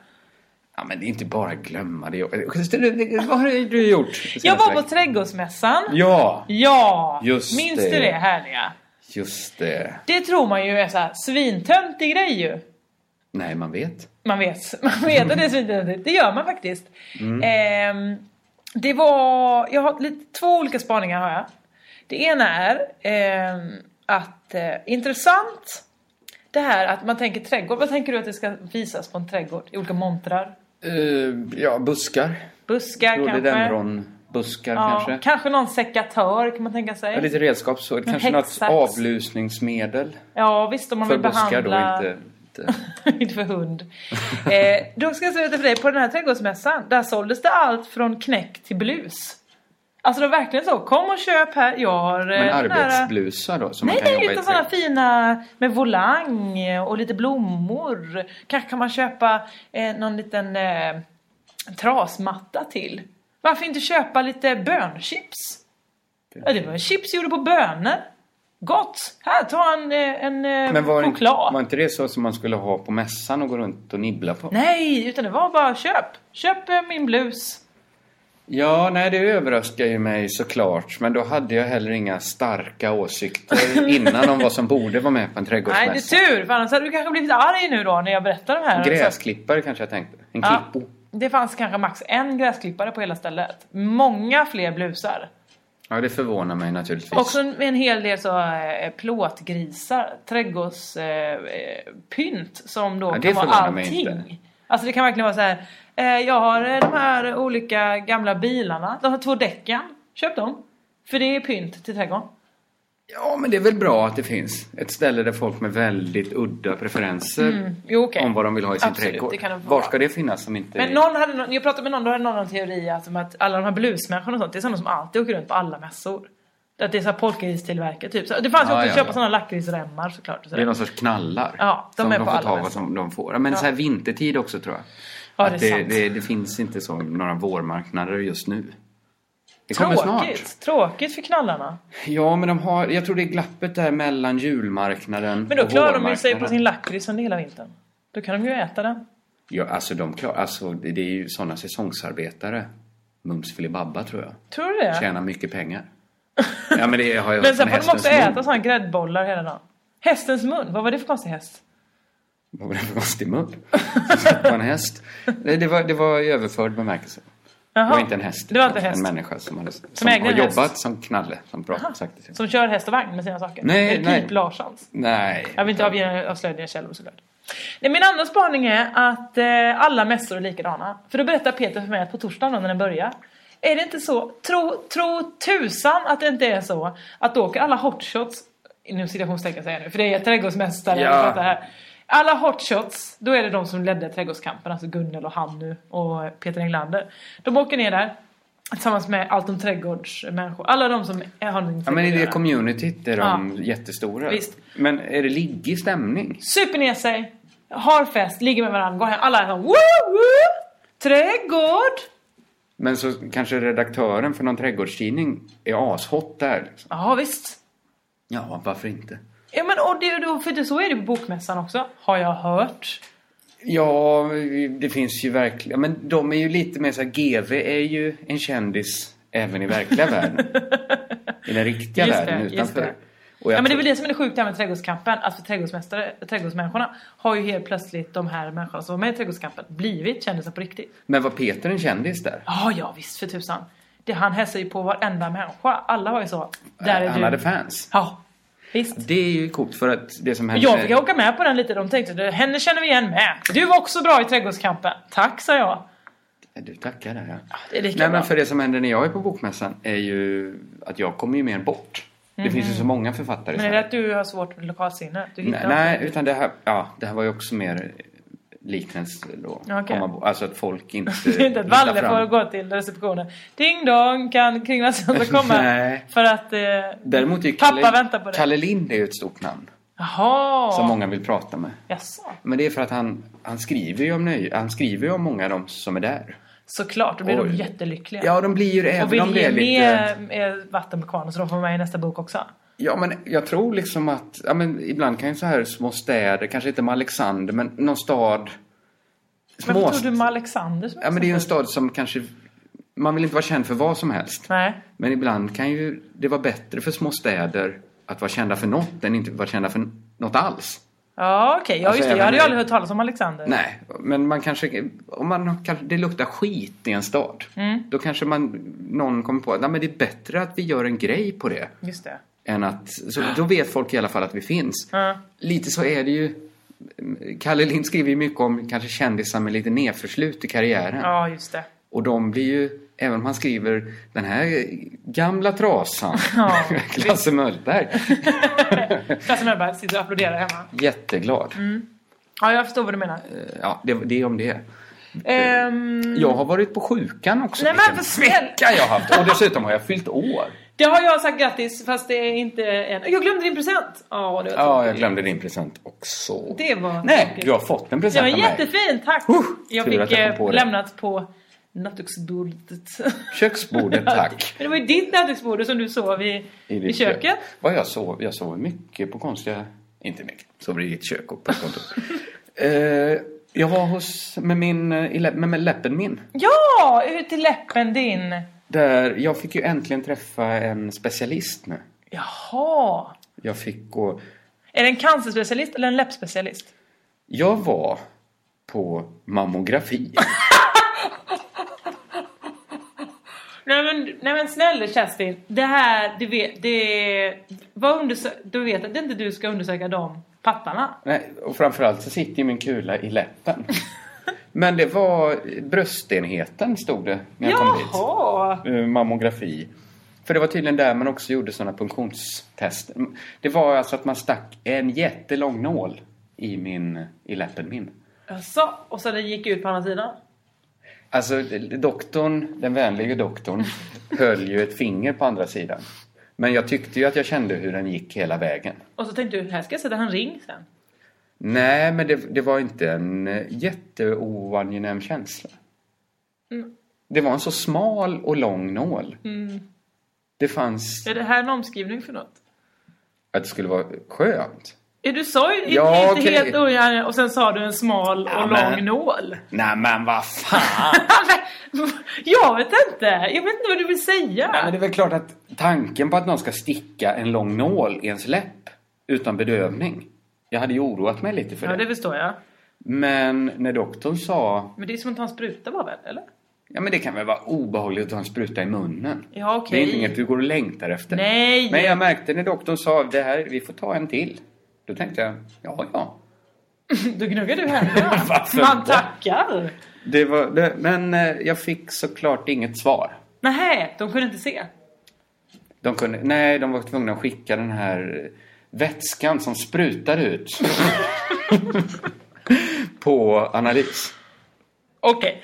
Ja, men det är inte bara glömma det. Vad har du gjort?
Jag var på trädgårdsmässan.
Ja,
Ja!
Just
minns
det.
du det härliga?
just det.
Det tror man ju är så här svintöntig grej ju.
Nej, man vet.
Man vet, man vet att det är svintöntigt. Det gör man faktiskt.
Mm.
Ehm, det var, jag har lite, två olika spaningar har jag. Det ena är ehm, att, eh, intressant det här att man tänker trädgård. Vad tänker du att det ska visas på en trädgård? I olika montrar?
Eh, ja, buskar.
Buskar kanske?
Rhododendronbuskar
Ja,
kanske.
kanske? någon sekatör kan man tänka
Ja,
sig.
lite redskap så. Kanske något
häcksax.
avlusningsmedel.
Ja visst om man
För
vill
buskar
behandla...
då, inte... inte.
inte för hund. Eh, då ska jag säga till dig, på den här trädgårdsmässan, där såldes det allt från knäck till blus. Alltså det var verkligen så, kom och köp här, jag har... eh,
Men
den här-
arbetsblusar då? Som
Nej,
man kan
nej,
jobba i
utan
trädgården.
sådana fina med volang och lite blommor. Kanske kan man köpa eh, någon liten eh, trasmatta till. Varför inte köpa lite bönchips? Ja, det var en chips gjord på bönor. Gott! Här, ta en, eh, en eh,
Men var, inte-
choklad.
var inte det så som man skulle ha på mässan och gå runt och nibbla på?
Nej, utan det var bara köp. Köp eh, min blus.
Ja, nej det överraskar ju mig såklart. Men då hade jag heller inga starka åsikter innan om vad som borde vara med på en
Nej, det
trädgårdsmässa.
är tur. För annars hade du kanske blivit arg nu då när jag berättar de här.
Gräsklippare kanske jag tänkte. En
alltså- Ja.
klippo.
Det fanns kanske max en gräsklippare på hela stället. Många fler blusar.
Ja, det förvånar mig naturligtvis.
Också med en hel del så eh, plåtgrisar, trädgårdspynt eh, pynt som då
Ja, det
kan vara
förvånar mig
allting.
inte.
Alltså det kan verkligen vara så här. Eh, jag har eh, de här olika gamla bilarna. De har två däcken. Köp dem. För det är pynt till trädgården.
Ja, men det är väl bra att det finns ett ställe där folk med väldigt udda preferenser
Mm. Jo, okej.
om vad de vill ha i sin
Absolut,
trädgård.
det kan det få
Var
vara.
ska det finnas som inte
Men
är-
någon hade, någon- jag pratade med någon, då hade någon en teori alltså, om att alla de här bluesmänniskorna och sånt, det är sådana som alltid åker runt på alla mässor. Att det är så här polkagris-tillverkare typ. Så det fanns ju
Ja,
också
Ah, ja,
att köpa
ja.
sådana lakritsremmar såklart. Och
Det är någon sorts knallar.
Ja, de
som
är
de
på
får
alla
ta vad
mässor.
som de får. Ja, Men
Ja.
så här vintertid också tror jag.
Ja,
Att
det är
det,
sant.
det, det finns inte så några vårmarknader just nu. Det kommer snart.
Tråkigt, tråkigt för knallarna.
Ja, men de har, jag tror det är glappet där mellan julmarknaden
Men då
och
klarar de ju sig på
vårmarknaden.
sin lakrits under hela vintern. Då kan de ju äta den.
Ja, alltså de klarar, alltså det det är ju sådana säsongsarbetare. Mums filibabba tror jag.
Tror du det?
Tjänar mycket pengar. Ja men det har jag
Men sen
från
får de också
hästens mun.
äta sådana gräddbollar hela dagen. Hästens mun, vad var det för konstig häst?
Vad var det för konstig mun? Som satt på en häst. Nej, det var, det var i överförd bemärkelse.
Jaha.
Det var inte en häst.
Det var inte
utan
häst.
En människa som, hade, som,
ägde
har
en häst.
jobbat som knalle. Som bra, sagt det till.
Som kör häst och vagn med sina saker.
Nej,
Eller Pip
nej.
Larssons.
Nej.
Jag vill inte avge- avslöja dina källor såklart. Nej, min andra spaning är att eh, alla mässor är likadana. För då berättar Peter för mig att på torsdagen då, när den börjar. Är det inte så? Tro, tro tusan att det inte är så. Att då åker alla hotshots. Inom citationstecken säger jag nu. För det är trädgårdsmästare.
Ja.
Ja. Det här. Alla hotshots. Då är det de som ledde trädgårdskampen. Alltså Gunnel och Hannu och Peter Englander. De åker ner där. Tillsammans med allt om trädgårdsmänniskor. Alla de som har någonting
Ja men i det communityt är de
Ja.
jättestora.
Visst.
Men är det liggig stämning?
super ner sig, har fest, ligger med varandra, går hem. Alla är så woo, woo, trädgård.
Men så kanske redaktören för någon trädgårdstidning är ashot där. Liksom.
Ja visst.
Ja, varför inte?
Ja men och det, då- för det, så är det på bokmässan också, har jag hört.
Ja, det finns ju verkligen. Men de är ju lite mer så här, GV är ju en kändis även i verkliga världen. I den riktiga
Just det,
världen
just
utanför.
det.
Och
ja
jag
men det är
tror-
väl det som är det sjuka med trädgårdskampen, att för trädgårdsmästare, trädgårdsmänniskorna har ju helt plötsligt de här människorna som var med i trädgårdskampen blivit kändisar på riktigt.
Men var Peter en kändis där?
Ja, ja visst för tusan. Det, han hälsar ju på varenda människa, alla var ju så. Där är
Han
du.
hade fans.
Ja, visst.
Det är ju coolt för att det som hände...
Jag fick åka med på den lite, de tänkte "Du, henne känner vi igen med. Du var också bra i trädgårdskampen. Tack sa jag.
Du tackar där ja.
det är lika
Nej
bra.
men för det som händer när jag är på bokmässan är ju att jag kommer ju mer bort.
Mhm.
Det finns ju så många författare.
Men
i
är det att du har svårt med lokalsinne? Du
Nej,
hittar
nej,
inte.
utan det här, ja, det här var ju också mer liknelse då.
Ja, okej.
Komma bo- Alltså att folk inte
Det är inte att
hittar
Valle
fram.
får gå till receptionen. Ding dong, kan Kringlan Sundar komma?
Nej.
för att eh,
Däremot är ju
pappa
Kalle,
väntar på dig.
Kalle Lind är ju ett stort namn
Jaha!
som många vill prata med.
Jaså?
Men det är för att han, han skriver ju om nöje, han skriver ju om många av dem som är där.
Såklart, då blir de
Oj.
jättelyckliga.
Ja, de blir ju det,
Och
även
vill
om det
ge
är lite-
mer eh, vatten på kvarnen så de får vara med i nästa bok också.
Ja, men jag tror liksom att, ja men ibland kan ju så här små städer, kanske inte med Alexander, men någon stad.
Men vad
Små,
tror du med Alexander? som
ja men det är ju en stad som kanske, man vill inte vara känd för vad som helst.
Nej.
Men ibland kan ju det vara bättre för små städer att vara kända för något än inte vara kända för något alls.
Ja okej, ja,
Alltså,
just det. Jag
även
hade ju
det-
aldrig hört talas om Alexander.
Nej, men man kanske, om man kanske, det luktar skit i en stad.
Mm,
Då kanske man, någon kommer på att "Nej, men det är bättre att vi gör en grej på det.
just det.
Än att, så då vet folk i alla fall att vi finns.
Ja.
Lite så är det ju. Kalle Lind skriver ju mycket om kanske kändisar med lite nedförslut i karriären.
ja, just det.
Och de blir ju, även om han skriver den här gamla trasan,
Ja,
Klasse Möllberg,
Klasse Mellberg sitter och applåderar hemma.
jätteglad. Eh,
Mm. Ja, jag förstår vad du menar.
Ja, det, det är om det.
Ehm,
Jag har varit på sjukan också.
Nej, men
Vilken
för snäll-
vecka jag har haft! Och dessutom har jag fyllt år.
Det har jag sagt grattis fast det är inte en... Jag glömde din present! Ja, det var
Ja, jag glömde din present också.
Det var
Nej,
tråkigt.
du har fått en
Det
present
var
av mig.
jättefint, tack! jag
tur
fick
att jag kom
eh,
på det.
lämnat på nattduksbordet.
Köksbordet, tack.
Men det var ju ditt nattduksbord som du sov i,
I
i
ditt
köket.
kök. Vad jag sov, jag sov mycket på konstiga... Inte mycket. Sov i ditt kök och på ett kontor. Eh, jag var hos, med min, eh, i lä- med, med läppen min.
Ja! Ut till läppen din!
Där, jag fick ju äntligen träffa en specialist nu.
Jaha!
Jag fick gå...
Är det en cancerspecialist eller en läppspecialist?
Jag var på mammografi.
Nej men, nej men snälla Kerstin, det här, du vet, det... Vad undersö- du vet att det är inte du ska undersöka de pattarna.
Nej, och framförallt så sitter ju min kula i läppen. Men det var bröstenheten stod det när jag
Jaha!
kom dit. Eh, Mammografi. För det var tydligen där man också gjorde sådana funktionstester. Det var alltså att man stack en jättelång nål i, min, i läppen min.
Jaså, och sen den gick ut på andra sidan?
Alltså doktorn, den vänlige doktorn, höll ju ett finger på andra sidan. Men jag tyckte ju att jag kände hur den gick hela vägen.
Och så tänkte du, här ska jag sätta en ring sen.
Nej, men det, det var inte en jätteoangenäm känsla.
Mm.
Det var en så smal och lång nål.
Mm.
Det fanns
Är det här en omskrivning för något?
att det skulle vara skönt.
Är du sa ju
Ja,
inte
okej.
helt ojangen och sen sa du en smal och
Ja,
lång
men-
nål.
Nej men vad fan!
Jag vet inte, jag vet inte vad du vill säga.
Nej, men det är väl klart att tanken på att någon ska sticka en lång nål i ens läpp utan bedövning. Jag hade ju oroat mig lite för
ja,
det.
det förstår jag.
Men när doktorn sa
Men det är som att ta en spruta bara väl, eller?
Ja men det kan väl vara obehagligt att ha en spruta i munnen.
Ja, okej.
Det är inte inget du går och längtar efter.
Nej.
Men jag märkte när doktorn sa det här, vi får ta en till. Då tänkte jag, ja ja.
Då gnuggar du händerna.
Varför
Man
inte?
tackar.
Det var, det, men eh, jag fick såklart inget svar.
Nej, de kunde inte se.
De kunde, nej, de var tvungna att skicka den här vätskan som sprutar ut. på analys.
Okej.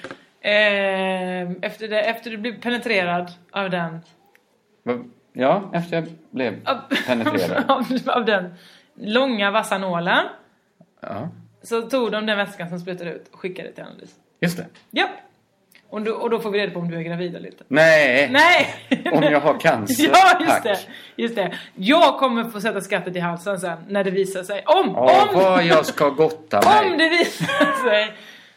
Ehm, efter, det, efter du blev penetrerad av den...
Va- Ja, efter jag blev penetrerad.
av, av den långa vassa nålen.
Ja,
Så tog de den vätskan som sprutade ut och skickade till analys.
just det.
Ja. Och då, och då får vi reda på om du är gravid eller inte.
Nej!
Nej!
Om jag har cancer.
Ja, just
tack.
det, just det. Jag kommer få sätta skrattet i halsen sen när det visar sig. Om,
Ja,
om,
vad jag ska gotta mig.
om det visar sig.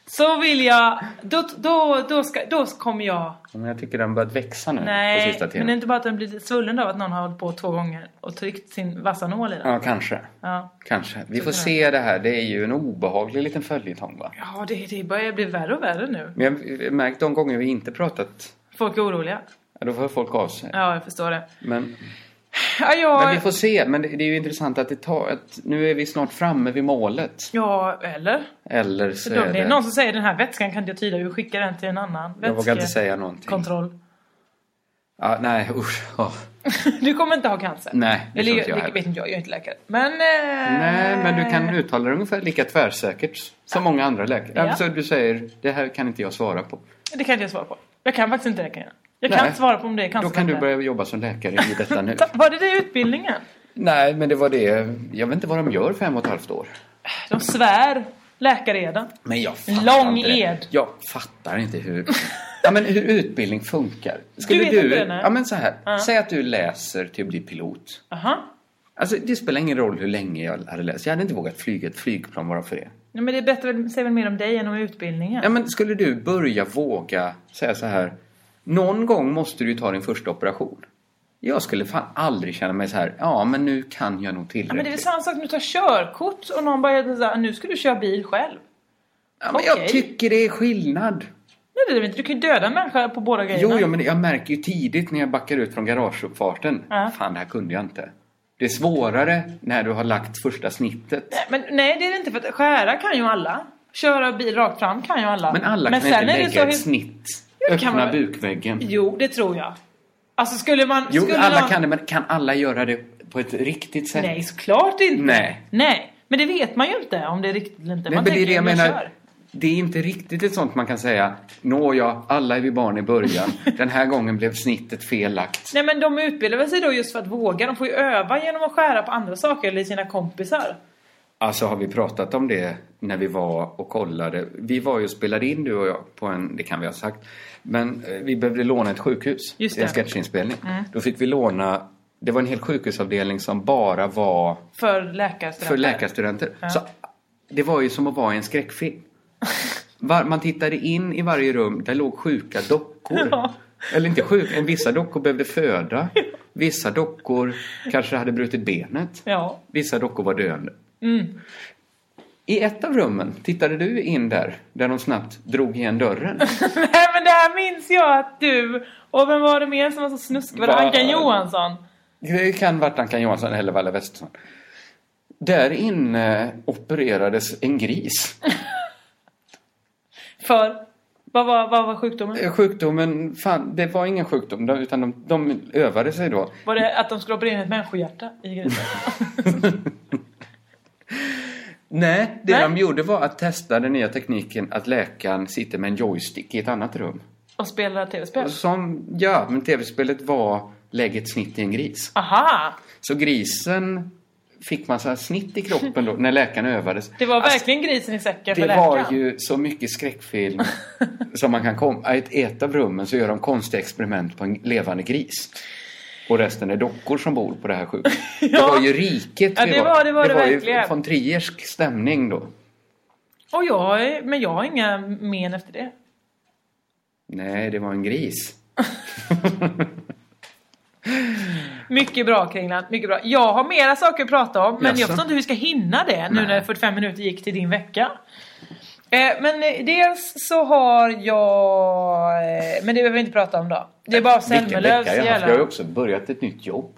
Så vill jag, då, då, då, ska, då kommer jag
Ja, Men jag tycker den börjat växa nu på
Nej,
sista tiden.
men det är inte bara att den blir lite svullen av att någon har hållit på två gånger och tryckt sin vassa nål i den.
Ja, kanske.
Ja,
Kanske. Vi
Så
får
kan
se det här. Det är ju en obehaglig liten följetong va?
ja det, det börjar bli värre och värre nu.
Men jag har märkt de gånger vi inte pratat,
Folk är oroliga.
ja, då hör folk av sig.
Ja, jag förstår det.
Men,
Ja, jag,
men vi får se. Men det, det är ju intressant att det tar, att nu är vi snart framme vid målet.
ja eller?
Eller så
För då,
är
det är
det...
någon som säger den här vätskan kan inte jag tyda, hur skickar den till en annan
Jag vågar inte säga någonting.
Kontroll.
Ja, nej, usch. ja.
Du kommer inte ha cancer.
Nej, det
Eller
tror
jag,
inte jag
jag
heller.
vet inte, jag jag är inte läkare. Men... eh,
Nej, men du kan uttala det ungefär lika tvärsäkert som många andra läkare.
Ja.
Ja. Så du säger, det här kan inte jag svara på.
Det kan inte jag svara på. Jag kan faktiskt inte det kan jag. Jag kan
Nej.
inte svara på om det är cancer.
Då kan
eller
du
inte.
börja jobba som läkare i detta nu.
Ta- Var det det i utbildningen?
Nej, men det var det. Jag vet inte vad de gör fem och ett halvt år.
De svär läkareden.
Men jag fattar
Lång
inte det.
ed.
Jag fattar inte hur... Ja, men hur utbildning funkar. Skulle
Du vet inte det, nej.
Ja, men så här.
Ja.
Säg att du läser till att bli pilot.
Aha.
Alltså, det spelar ingen roll hur länge jag hade läst. Jag hade inte vågat flyga ett flygplan bara för det.
Nej, men det är bättre, väl- säger väl mer om dig än om utbildningen.
Ja, men skulle du börja våga säga så här. Någon gång måste du ju ta din första operation. Jag skulle fan aldrig känna mig så här. Ja, men nu kan jag nog tillräckligt.
Ja, men det är väl samma sak när du tar körkort och någon bara säger nu ska du köra bil själv.
Ja, men jag
Okej.
tycker det är skillnad.
Nej det är det inte, du kan ju döda en människa på båda grejerna.
Jo, jo, men jag märker ju tidigt när jag backar ut från garageuppfarten.
Ja.
Fan, det här kunde jag inte. Det är svårare när du har lagt första snittet.
Nej, men, nej det är det inte för att skära kan ju alla. Köra bil rakt fram kan ju alla.
Men alla kan
sen
inte
är det så
lägga
hur-
ett snitt.
Jo, det kan
Öppna
man väl.
bukväggen.
Jo det tror jag. Alltså skulle man...
Jo,
skulle
alla
någon...
kan det, men kan alla göra det på ett riktigt sätt?
Nej såklart inte.
Nej.
Nej. Men det vet man ju inte om det är riktigt eller inte.
Nej, men
man
det är
tänker
det jag
ju,
menar.
kör.
Det är inte riktigt ett sånt man kan säga, nåja, alla är vi barn i början. Den här gången blev snittet fellagt.
Nej men de utbildar väl sig då just för att våga. De får ju öva genom att skära på andra saker eller sina kompisar.
Alltså har vi pratat om det när vi var och kollade? Vi var ju och spelade in du och jag på en, det kan vi ha sagt, men eh, vi behövde låna ett sjukhus.
Just
I En
det.
sketchinspelning. Då fick vi låna, det var en hel sjukhusavdelning som bara var
För läkarstudenter.
för läkarstudenter. Så det var ju som att vara i en skräckfilm. Var, man tittade in i varje rum, där låg sjuka dockor.
Ja.
Eller inte sjuka, men vissa dockor behövde föda. Vissa dockor kanske hade brutit benet.
Ja.
Vissa dockor var döende. I ett av rummen tittade du in där, där de snabbt drog igen dörren.
Nej men det här minns jag att du och vem var det mer som var så snuskig? Var det
Va-
Ankan Johansson?
Det kan varit Ankan Johansson eller Valle Westesson. Där inne opererades en gris.
För? Vad var, vad var sjukdomen?
Eh, Sjukdomen, fan, det var ingen sjukdom då, utan de, de övade sig då.
Var det att de skulle operera in ett människohjärta i grisen?
Nej, det
Nej.
de gjorde var att testa den nya tekniken att läkaren sitter med en joystick i ett annat rum.
Och spela tv-spel?
Som, ja, men tv-spelet var lägg ett snitt i en gris.
Aha!
Så grisen fick massa snitt i kroppen då när läkaren övades.
Det var verkligen grisen i säcken
Alltså,
för
Det var
läkaren.
ju så mycket skräckfilm som man kan komma. I ett- ett av rummen så gör de konstiga experiment på en levande gris. Och resten är dockor som bor på det här sjukhuset. Det var ju riket
Ja,
vi
det var- det var det
ju
verkligen.
von Triersk stämning då.
Och jag, är- men jag har inga men efter det.
Nej, det var en gris.
Mycket bra Kringland, mycket bra. Jag har mera saker att prata om, men
Jaså?
jag förstår inte hur vi ska hinna det nu när 45 minuter gick till din vecka. Eh, men eh, dels så har jag... Eh, men det behöver vi inte prata om då. Det är bara
Vilken vecka
Selmelövs
jag har haft. Jag har ju
jävla...
också börjat ett nytt jobb.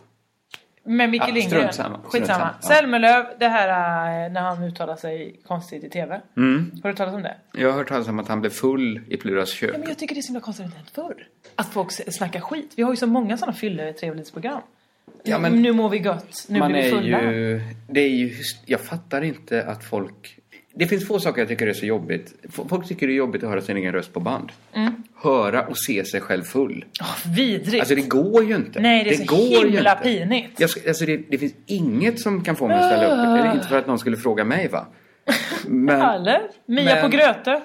Med Micke
Ja,
Lindgren.
strunt samma, strunt
Skitsamma.
samma, ja.
Selmelöv, det här eh, när han uttalar sig konstigt i TV.
Mm.
Har du talat om det?
Jag har hört talas om att han blev full i Pluras kök.
Ja, men jag tycker det är så himla konstigt att det inte hänt förr. Att folk s- snackar skit. Vi har ju så många sådana fylletrevlighetsprogram.
Ja,
Ja,
men-
nu mår vi gött, nu
Man
blir vi
är
fulla.
ju, det är ju, hyst- jag fattar inte att folk... Det finns få saker jag tycker är så jobbigt. F- Folk tycker det är jobbigt att höra sin egen röst på band.
Mm.
Höra och se sig själv full.
Vidrigt.
Alltså det går ju inte.
Nej, det är så
ju
himla
inte.
pinigt.
Jag, sk- alltså det, det finns inget som kan få mig att ställa upp. Det är inte för att någon skulle fråga mig va? Men,
Eller? Mia
Men-
på Gröte.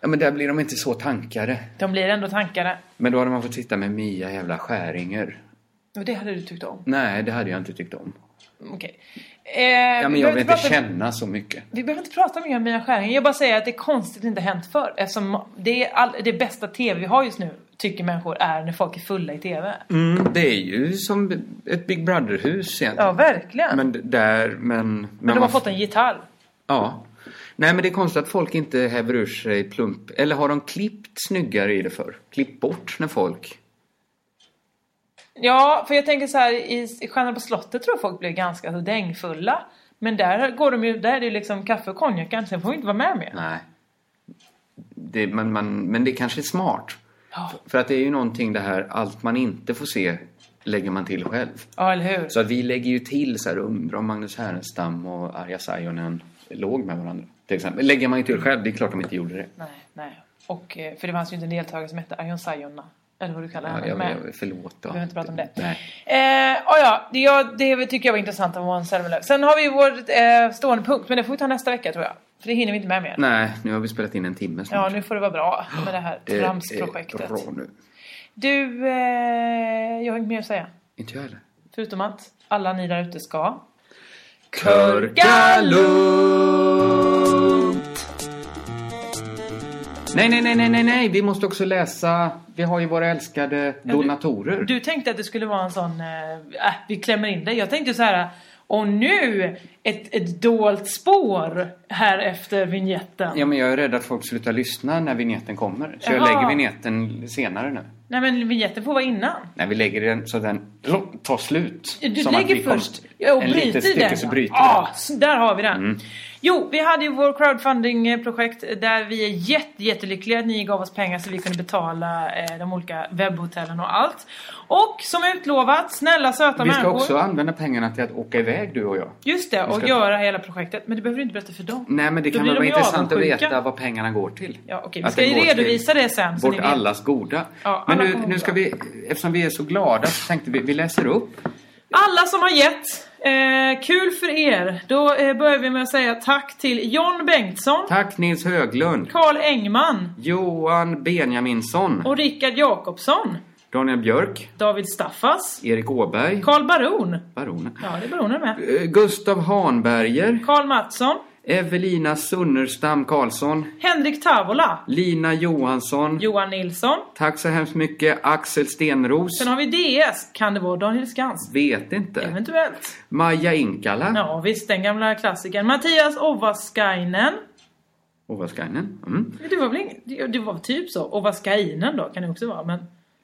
ja, men där blir de inte så tankade.
De blir ändå tankare.
Men då hade man fått sitta med Mia jävla Skäringer.
Och det hade du tyckt om.
Nej, det hade jag inte tyckt om.
Okej. Eh, vi
Ja, men jag
behöver
vill inte
prata-
känna så mycket.
Vi behöver inte prata mer om Mia Skäringer. Jag bara säger att det är konstigt att det inte hänt förr. Eftersom det, är all, det bästa TV vi har just nu, tycker människor, är när folk är fulla i TV.
Mm, det är ju som ett Big Brother-hus egentligen.
Ja, verkligen. Men,
Men d- där, men... men
de har
man-
fått en gitarr.
Ja. Nej, men det är konstigt att folk inte häver ur sig plump... Eller har de klippt snyggare i det för? Klippt bort när folk...
Ja, för jag tänker så här i i Stjärnorna på slottet tror jag folk blir ganska så dängfulla. Men där går de ju, där är det ju liksom kaffe och konjak, sen får vi inte vara med mer.
Nej. Det, men, man, men det kanske är smart.
Ja.
För att det är ju någonting det här, allt man inte får se lägger man till själv.
ja, eller hur?
Så att vi lägger ju till så här, undrar om Magnus Härenstam och Arja Saijonen låg med varandra. Till exempel. Lägger man ju till själv, det är klart de inte gjorde det.
Nej, nej. Och, eh, för det fanns ju inte en deltagare som hette Arjon Sajonna. Eller vad du kallar
Ja,
henne.
jag,
men-
jag, förlåt
Vi
då.
behöver inte prata om det.
Nej.
Eh, oh ja, det, ja, det tycker jag var intressant av Måns Zelmerlöw. Sen har vi ju vår eh, stående punkt, men det får vi ta nästa vecka tror jag. För det hinner vi inte med mer.
Nej, nu har vi spelat in en timme
Ja,
snart.
nu får det vara bra med det här
Det är
tramsprojektet.
bra nu.
Du, eh, jag har inget mer att säga.
Inte jag heller.
Förutom att alla ni där ute ska...
Körka lugnt! Nej, nej, nej, nej, nej, nej, vi måste också läsa. Vi har ju våra älskade donatorer.
Du tänkte att det skulle vara en sån, eh, äh, vi klämmer in det. Jag tänkte så här, och nu ett, ett dolt spår här efter vignetten.
Ja, men jag är rädd att folk slutar lyssna när vignetten kommer. Så jag
Jaha.
lägger vignetten senare nu.
Nej men vignetten får vara innan.
Nej, vi lägger den så den tar slut.
Du
Som att vi
lägger
kom-
först ja, och
en
bryter
litet stycke
den.
så bryter vi
ja,
den.
så där har vi den.
Mm.
Jo, vi hade ju vår crowdfunding-projekt där vi är jätte, jättelyckliga att ni gav oss pengar så vi kunde betala eh, de olika webbhotellen och allt. Och som utlovat, snälla söta
Vi ska
människor.
också använda pengarna till att åka iväg du och jag.
Just det,
Vi
och
ska-
göra hela projektet. Men det behöver du inte berätta för dem.
Nej, men det
Då
kan
blir
väl
de
vara
ju
intressant att
avundsjuka.
veta vad pengarna går till.
Ja, okej, vi
Att
ska
det
ju
går till
redovisa det sen. så
Vårt
ni vet.
allas goda.
Ja,
men
alla
nu,
kommer
nu ska
bra.
vi, eftersom vi är så glada så tänkte vi, vi läser upp.
Alla som har gett, eh, kul för er. Då eh, börjar vi med att säga tack till John Bengtsson,
Tack Nils Höglund,
Karl Engman
Johan Benjaminsson,
och Rickard Jakobsson.
Daniel Björk,
David Staffas,
Erik Åberg,
Karl Baron.
baronen.
Ja, det är baronen med.
Eh, Gustav Hanberger,
Karl Mattsson,
Evelina Sunnerstam Karlsson,
Henrik Tavola,
Lina Johansson.
Johan Nilsson.
Mm. Tack så hemskt mycket Axel Stenros.
Sen har vi DS. Kan det vara Daniel Skans?
Vet inte.
Eventuellt.
Maja Inkala.
Ja, visst, den gamla klassikern. Mattias Ovaskainen.
Ovaskainen. Mm.
Det var väl inget, det det var typ så. Ovaskainen då, kan det också vara. Men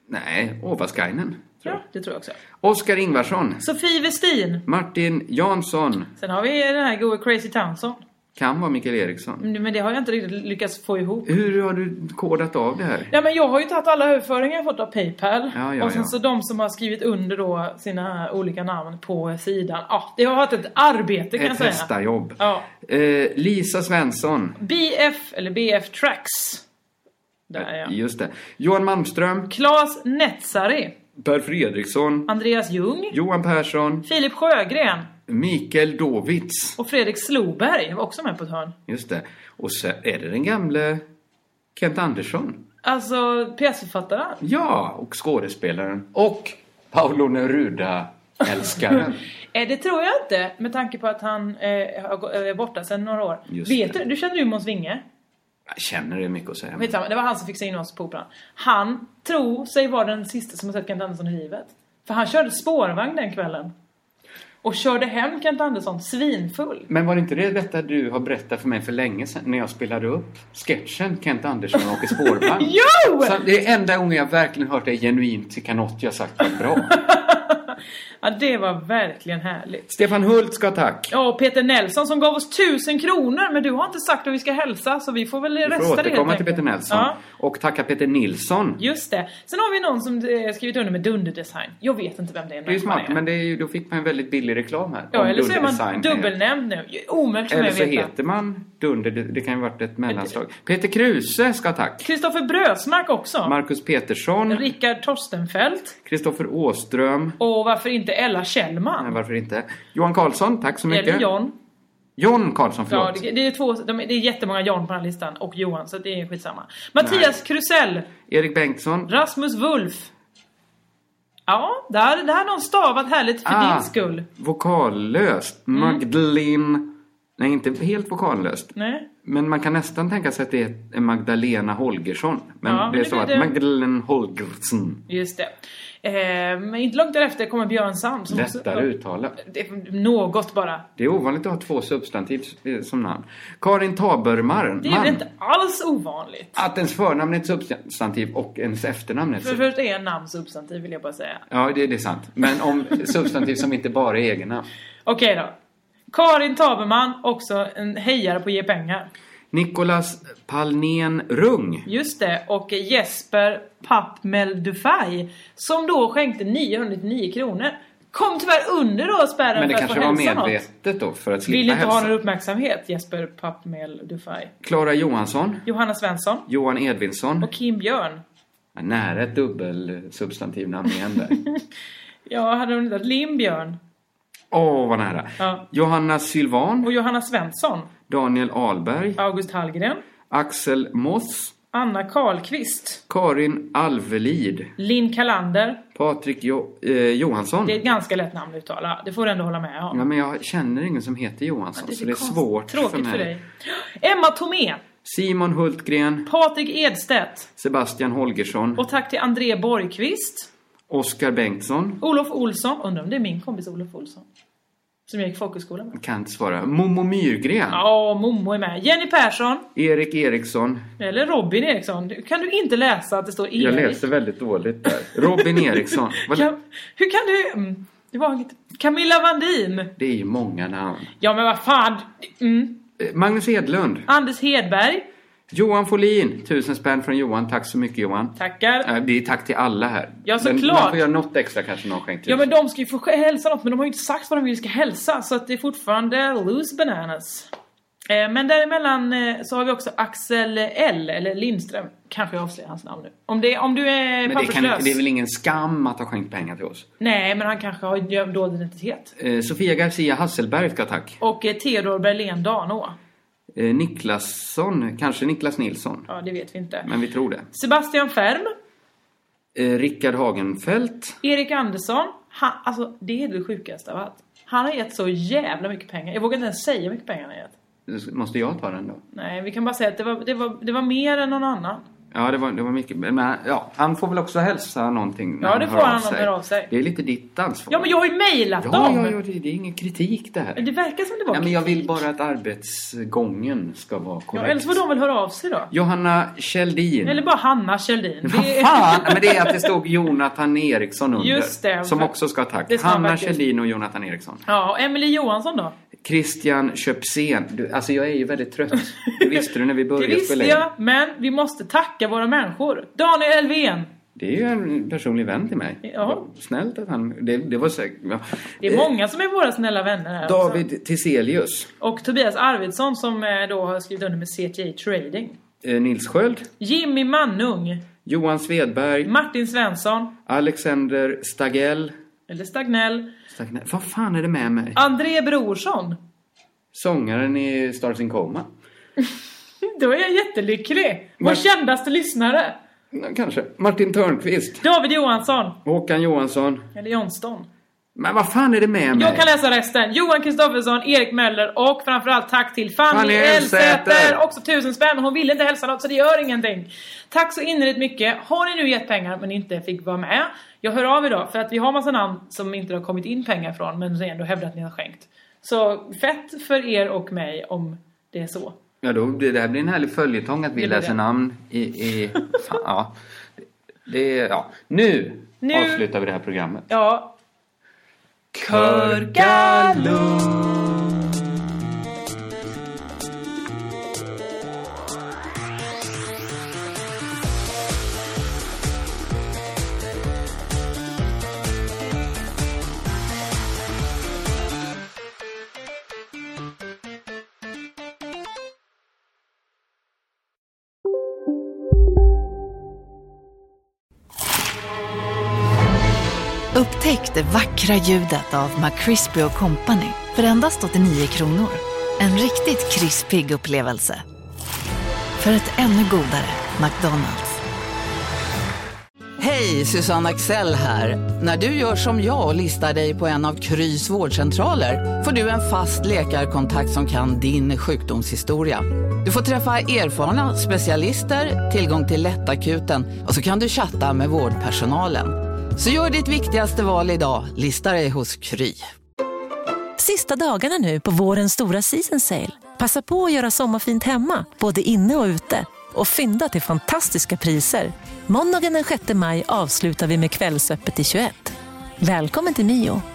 Nej, Ovaskainen.
ja, det tror jag också.
Oskar Ingvarsson.
Sofie Westin.
Martin Jansson.
Sen har vi den här gode Crazy Townsend.
Kan vara Mikael Eriksson.
Men det har jag inte riktigt lyckats få ihop.
Hur har du kodat av det här?
Ja, men jag har ju tagit alla överföringar jag fått av Paypal.
Ja, ja,
och sen
ja.
så de som har skrivit under då sina olika namn på sidan. Ja, det har varit ett arbete kan jag
Ett
säga.
hästajobb.
Ja.
Eh, Lisa Svensson.
BF, eller BF Tracks. Där ja.
Just det. Johan Malmström.
Klas Netsari.
Per Fredriksson.
Andreas Ljung.
Johan Persson.
Filip Sjögren.
Mikael Dovitz.
Och Fredrik Sloberg var också med på ett hörn.
Just det. Och så är det den gamle Kent Andersson.
Alltså pjäsförfattaren.
Ja, och skådespelaren. Och Paolo Neruda-älskaren.
Eh, det tror jag inte med tanke på att han eh, har gå- är borta sedan några år.
Just
Vet
det.
du, du känner ju Måns Winge?
Jag känner det är mycket att säga.
Skitsamma, det var han som fick sig in oss på operan. Han tror sig vara den sista som har sett Kent Andersson i livet. För han körde spårvagn den kvällen. Och körde hem Kent Andersson svinfull.
Men var det inte det detta du har berättat för mig för länge sedan när jag spelade upp sketchen Kent Andersson och åker spårvagn?
Jo!
Så det är enda gången jag verkligen hört dig genuint tycka något jag sagt var bra.
Ja, det var verkligen härligt.
Stefan Hult ska ha tack.
Ja, och Peter Nelson som gav oss tusen kronor, men du har inte sagt att vi ska hälsa så vi får väl
Vi får
rösta det helt
återkomma till
enkelt.
Peter Nelson.
Ja.
Och tacka Peter Nilsson.
Just det. Sen har vi någon som eh, skrivit under med Dunderdesign. Jag vet inte vem det är.
Det är ju
vem han
smart, men det är ju, då fick man en väldigt billig reklam här.
Ja,
Om
eller så är man
Dunderdesign
dubbelnämnd nu. Omöjligt för mig
Eller
att
så
veta.
heter man Dunder, det, det kan ju varit ett mellanslag. Peter Kruse ska ha tack.
Kristoffer Brösmark också.
Marcus Petersson,
Rickard Torstenfeldt.
Kristoffer Åström,
Och varför inte Ella Kjellman?
nej, varför inte? Johan Karlsson, tack så mycket.
Eller John.
John Karlsson,
Ja,
förlåt.
det, det, är två, de, är- det är jättemånga John på den här listan. Och Johan, så det är skitsamma. Mattias Krusell.
Erik Bengtsson.
Rasmus Wulf. Ja, där, där har någon stavat härligt för
Ah.
din skull.
Vokallöst.
Mm.
Magdalene... Nej, inte helt vokallöst.
Nej.
Men man kan nästan tänka sig att det är Magdalena Holgersson. Men
Ja, men
det är
det
så
blir
att
det.
Magdalene Holgersson.
Just det. Eh, men inte långt därefter kommer Björn Sam. Som
Lättare att uttala.
Det, något bara.
Det är ovanligt att ha två substantiv eh, som namn. Karin Tabermar.
Det är väl inte alls ovanligt.
Att ens förnamn är ett substantiv och ens efternamn är ett
För
substantiv.
först är namn substantiv vill jag bara säga.
Ja, det, det är sant. Men om substantiv som inte bara är egna.
Okej då. Karin Taberman, också en hejare på Ge pengar.
Nicolas Palnén Rung.
Just det, och Jesper Pappmel Dufay som då skänkte 909 kronor. Kom tyvärr under då spärren
Men det
för att
kanske
få
var
hälsa något.
medvetet då för att
Vill
slippa
inte ha någon
hälsa.
uppmärksamhet Jesper Pappmel Dufay.
Klara Johansson,
Johanna Svensson
Johan Edvinsson.
och Kim Björn.
Nära ett dubbelsubstantivnamn igen där.
Ja, hade hon inte varit Lim Björn
Åh, vad nära.
Ja.
Johanna Sylvan,
och Johanna Svensson,
Daniel Ahlberg,
August Hallgren,
Axel Moss,
Anna Karlqvist,
Karin Alvelid,
Linn Kalander.
Patrik jo- eh, Johansson.
Det är ett ganska lätt namn att uttala, det får du ändå hålla med om.
Ja, men jag känner ingen som heter Johansson, så det är
konstigt.
svårt
Tråkigt
för mig.
dig. Emma Tomé,
Simon Hultgren,
Patrik Edstedt
Sebastian Holgersson,
och tack till André Borgqvist,
Oskar Bengtsson.
Olof Olsson, undrar om det är min kompis Olof Olsson. Som jag gick folkhögskola med.
Kan inte svara. Momo Myrgren,
Ja, Momo är med. Jenny Persson,
Erik Eriksson.
eller Robin Eriksson. Du- Kan du inte läsa att det står E? Erik?
Jag läser väldigt dåligt där. Robin Eriksson. Vad-
Kan, hur kan du... Mm, det var inget... Camilla Vandin.
Det är ju många namn.
Ja men vad fan. Mm.
Eh, Magnus Edlund.
Anders Hedberg.
Johan Folin. Tusen spänn från Johan. Tack så mycket Johan.
Tackar.
Eh, Det är tack till alla här.
Ja,
Men
såklart.
Man får göra något extra kanske någon skänker.
Ja men de ska ju få hälsa något men de har ju inte sagt vad de vill ska hälsa så att det är fortfarande loose bananas. Eh, Men däremellan eh, så har vi också Axel L, eller Lindström, kanske jag avslöjar hans namn nu. Om, det, om du är
Men det, kan,
papperslös.
det är väl ingen skam att ha skänkt pengar till oss.
Nej men han kanske har gömd dold identitet.
Eh, Sofia Garcia Hasselberg ska ha tack.
Och eh, Theodor Berlén Danå.
Eh, Niklasson. Kanske Niklas Nilsson.
Ja det vet vi inte.
Men vi tror det.
Sebastian Färm.
Eh, Rickard Hagenfeldt.
Erik Andersson, han, alltså det är det sjukaste av allt. Han har gett så jävla mycket pengar. Jag vågar inte ens säga hur mycket pengar han har gett.
Måste jag ta den då?
Nej, vi kan bara säga att det var, det var, det var mer än någon annan.
Ja, det var, det var mycket. Men eh, ja, han får väl också hälsa någonting när
Ja, det får han
av
om han
sig.
hör av sig.
Det är lite ditt ansvar.
Ja, men jag har ju mejlat
Ja,
dem!
ja, ja, det, det är ingen kritik det här.
Det verkar som det var
Nej, men jag vill
kritik.
bara att arbetsgången ska vara
Ja,
korrekt.
eller så får de väl höra av sig då.
Johanna Kjeldin.
Eller bara Hanna Kjellin.
Vad fan! Nej, Men det är att det stod Jonathan Eriksson under.
Just det.
Som också ska ha tack.
Det ska han
Hanna
verkligen.
Kjellin och Jonathan Eriksson.
Ja, och Emily Johansson då?
Christian Köpsén. Du, alltså jag är ju väldigt trött. Det visste du när vi
Det
började
visste
spela in.
jag, men vi måste tacka våra människor. Daniel Elfven.
Det är ju en personlig vän till mig.
Ja.
Snällt att han... Det, det var säkert... Ja.
Det är
Eh,
många som är våra snälla vänner här. också.
David Tiselius.
Och Tobias Arvidsson som eh, då har skrivit under med CTI Trading.
Eh, Nils Sköld.
Jimmy Mannung.
Johan Svedberg.
Martin Svensson.
Alexander Stagell.
Eller Stagnell.
Stagnell. Vad fan är det med mig?
André Brorsson.
Sångaren i Stars in Coma.
Då är jag jättelycklig. Vår
Mar-
kändaste lyssnare.
Ja, Kanske. Martin Törnqvist.
David Johansson.
Håkan Johansson.
Eller Johnston.
Men vad fan är det med mig?
Jag kan läsa resten. Johan Kristoffersson, Erik Möller och framförallt tack till Fanny,
Fanny
Elsäter.
Elsäter.
Också tusen spänn. Hon ville inte hälsa något så det gör ingenting. Tack så innerligt mycket. Har ni nu gett pengar men inte fick vara med? Jag hör av idag för att vi har massa namn som inte har kommit in pengar från men som ändå hävdar att ni har skänkt. Så fett för er och mig om det är så.
Ja, då, det det här blir en härlig följetong att vi
Det blir
läser
det.
namn i... i fan, ja. Det, ja. Nu,
Nu-
avslutar vi det här programmet.
Ja.
Upptäck det vackra ljudet av McCrispy Company för endast 89 kronor. En riktigt krispig upplevelse. För ett ännu godare McDonalds.
Hej, Susanne Axel här. När du gör som jag och listar dig på en av Krys vårdcentraler får du en fast läkarkontakt som kan din sjukdomshistoria. Du får träffa erfarna specialister, tillgång till lättakuten och så kan du chatta med vårdpersonalen. Så gör ditt viktigaste val idag, lista dig hos Kry.
Sista dagarna nu på vårens stora season sale. Passa på att göra sommarfint hemma, både inne och ute. Och fynda till fantastiska priser. Måndagen den 6 maj avslutar vi med Kvällsöppet i 21. Välkommen till Mio.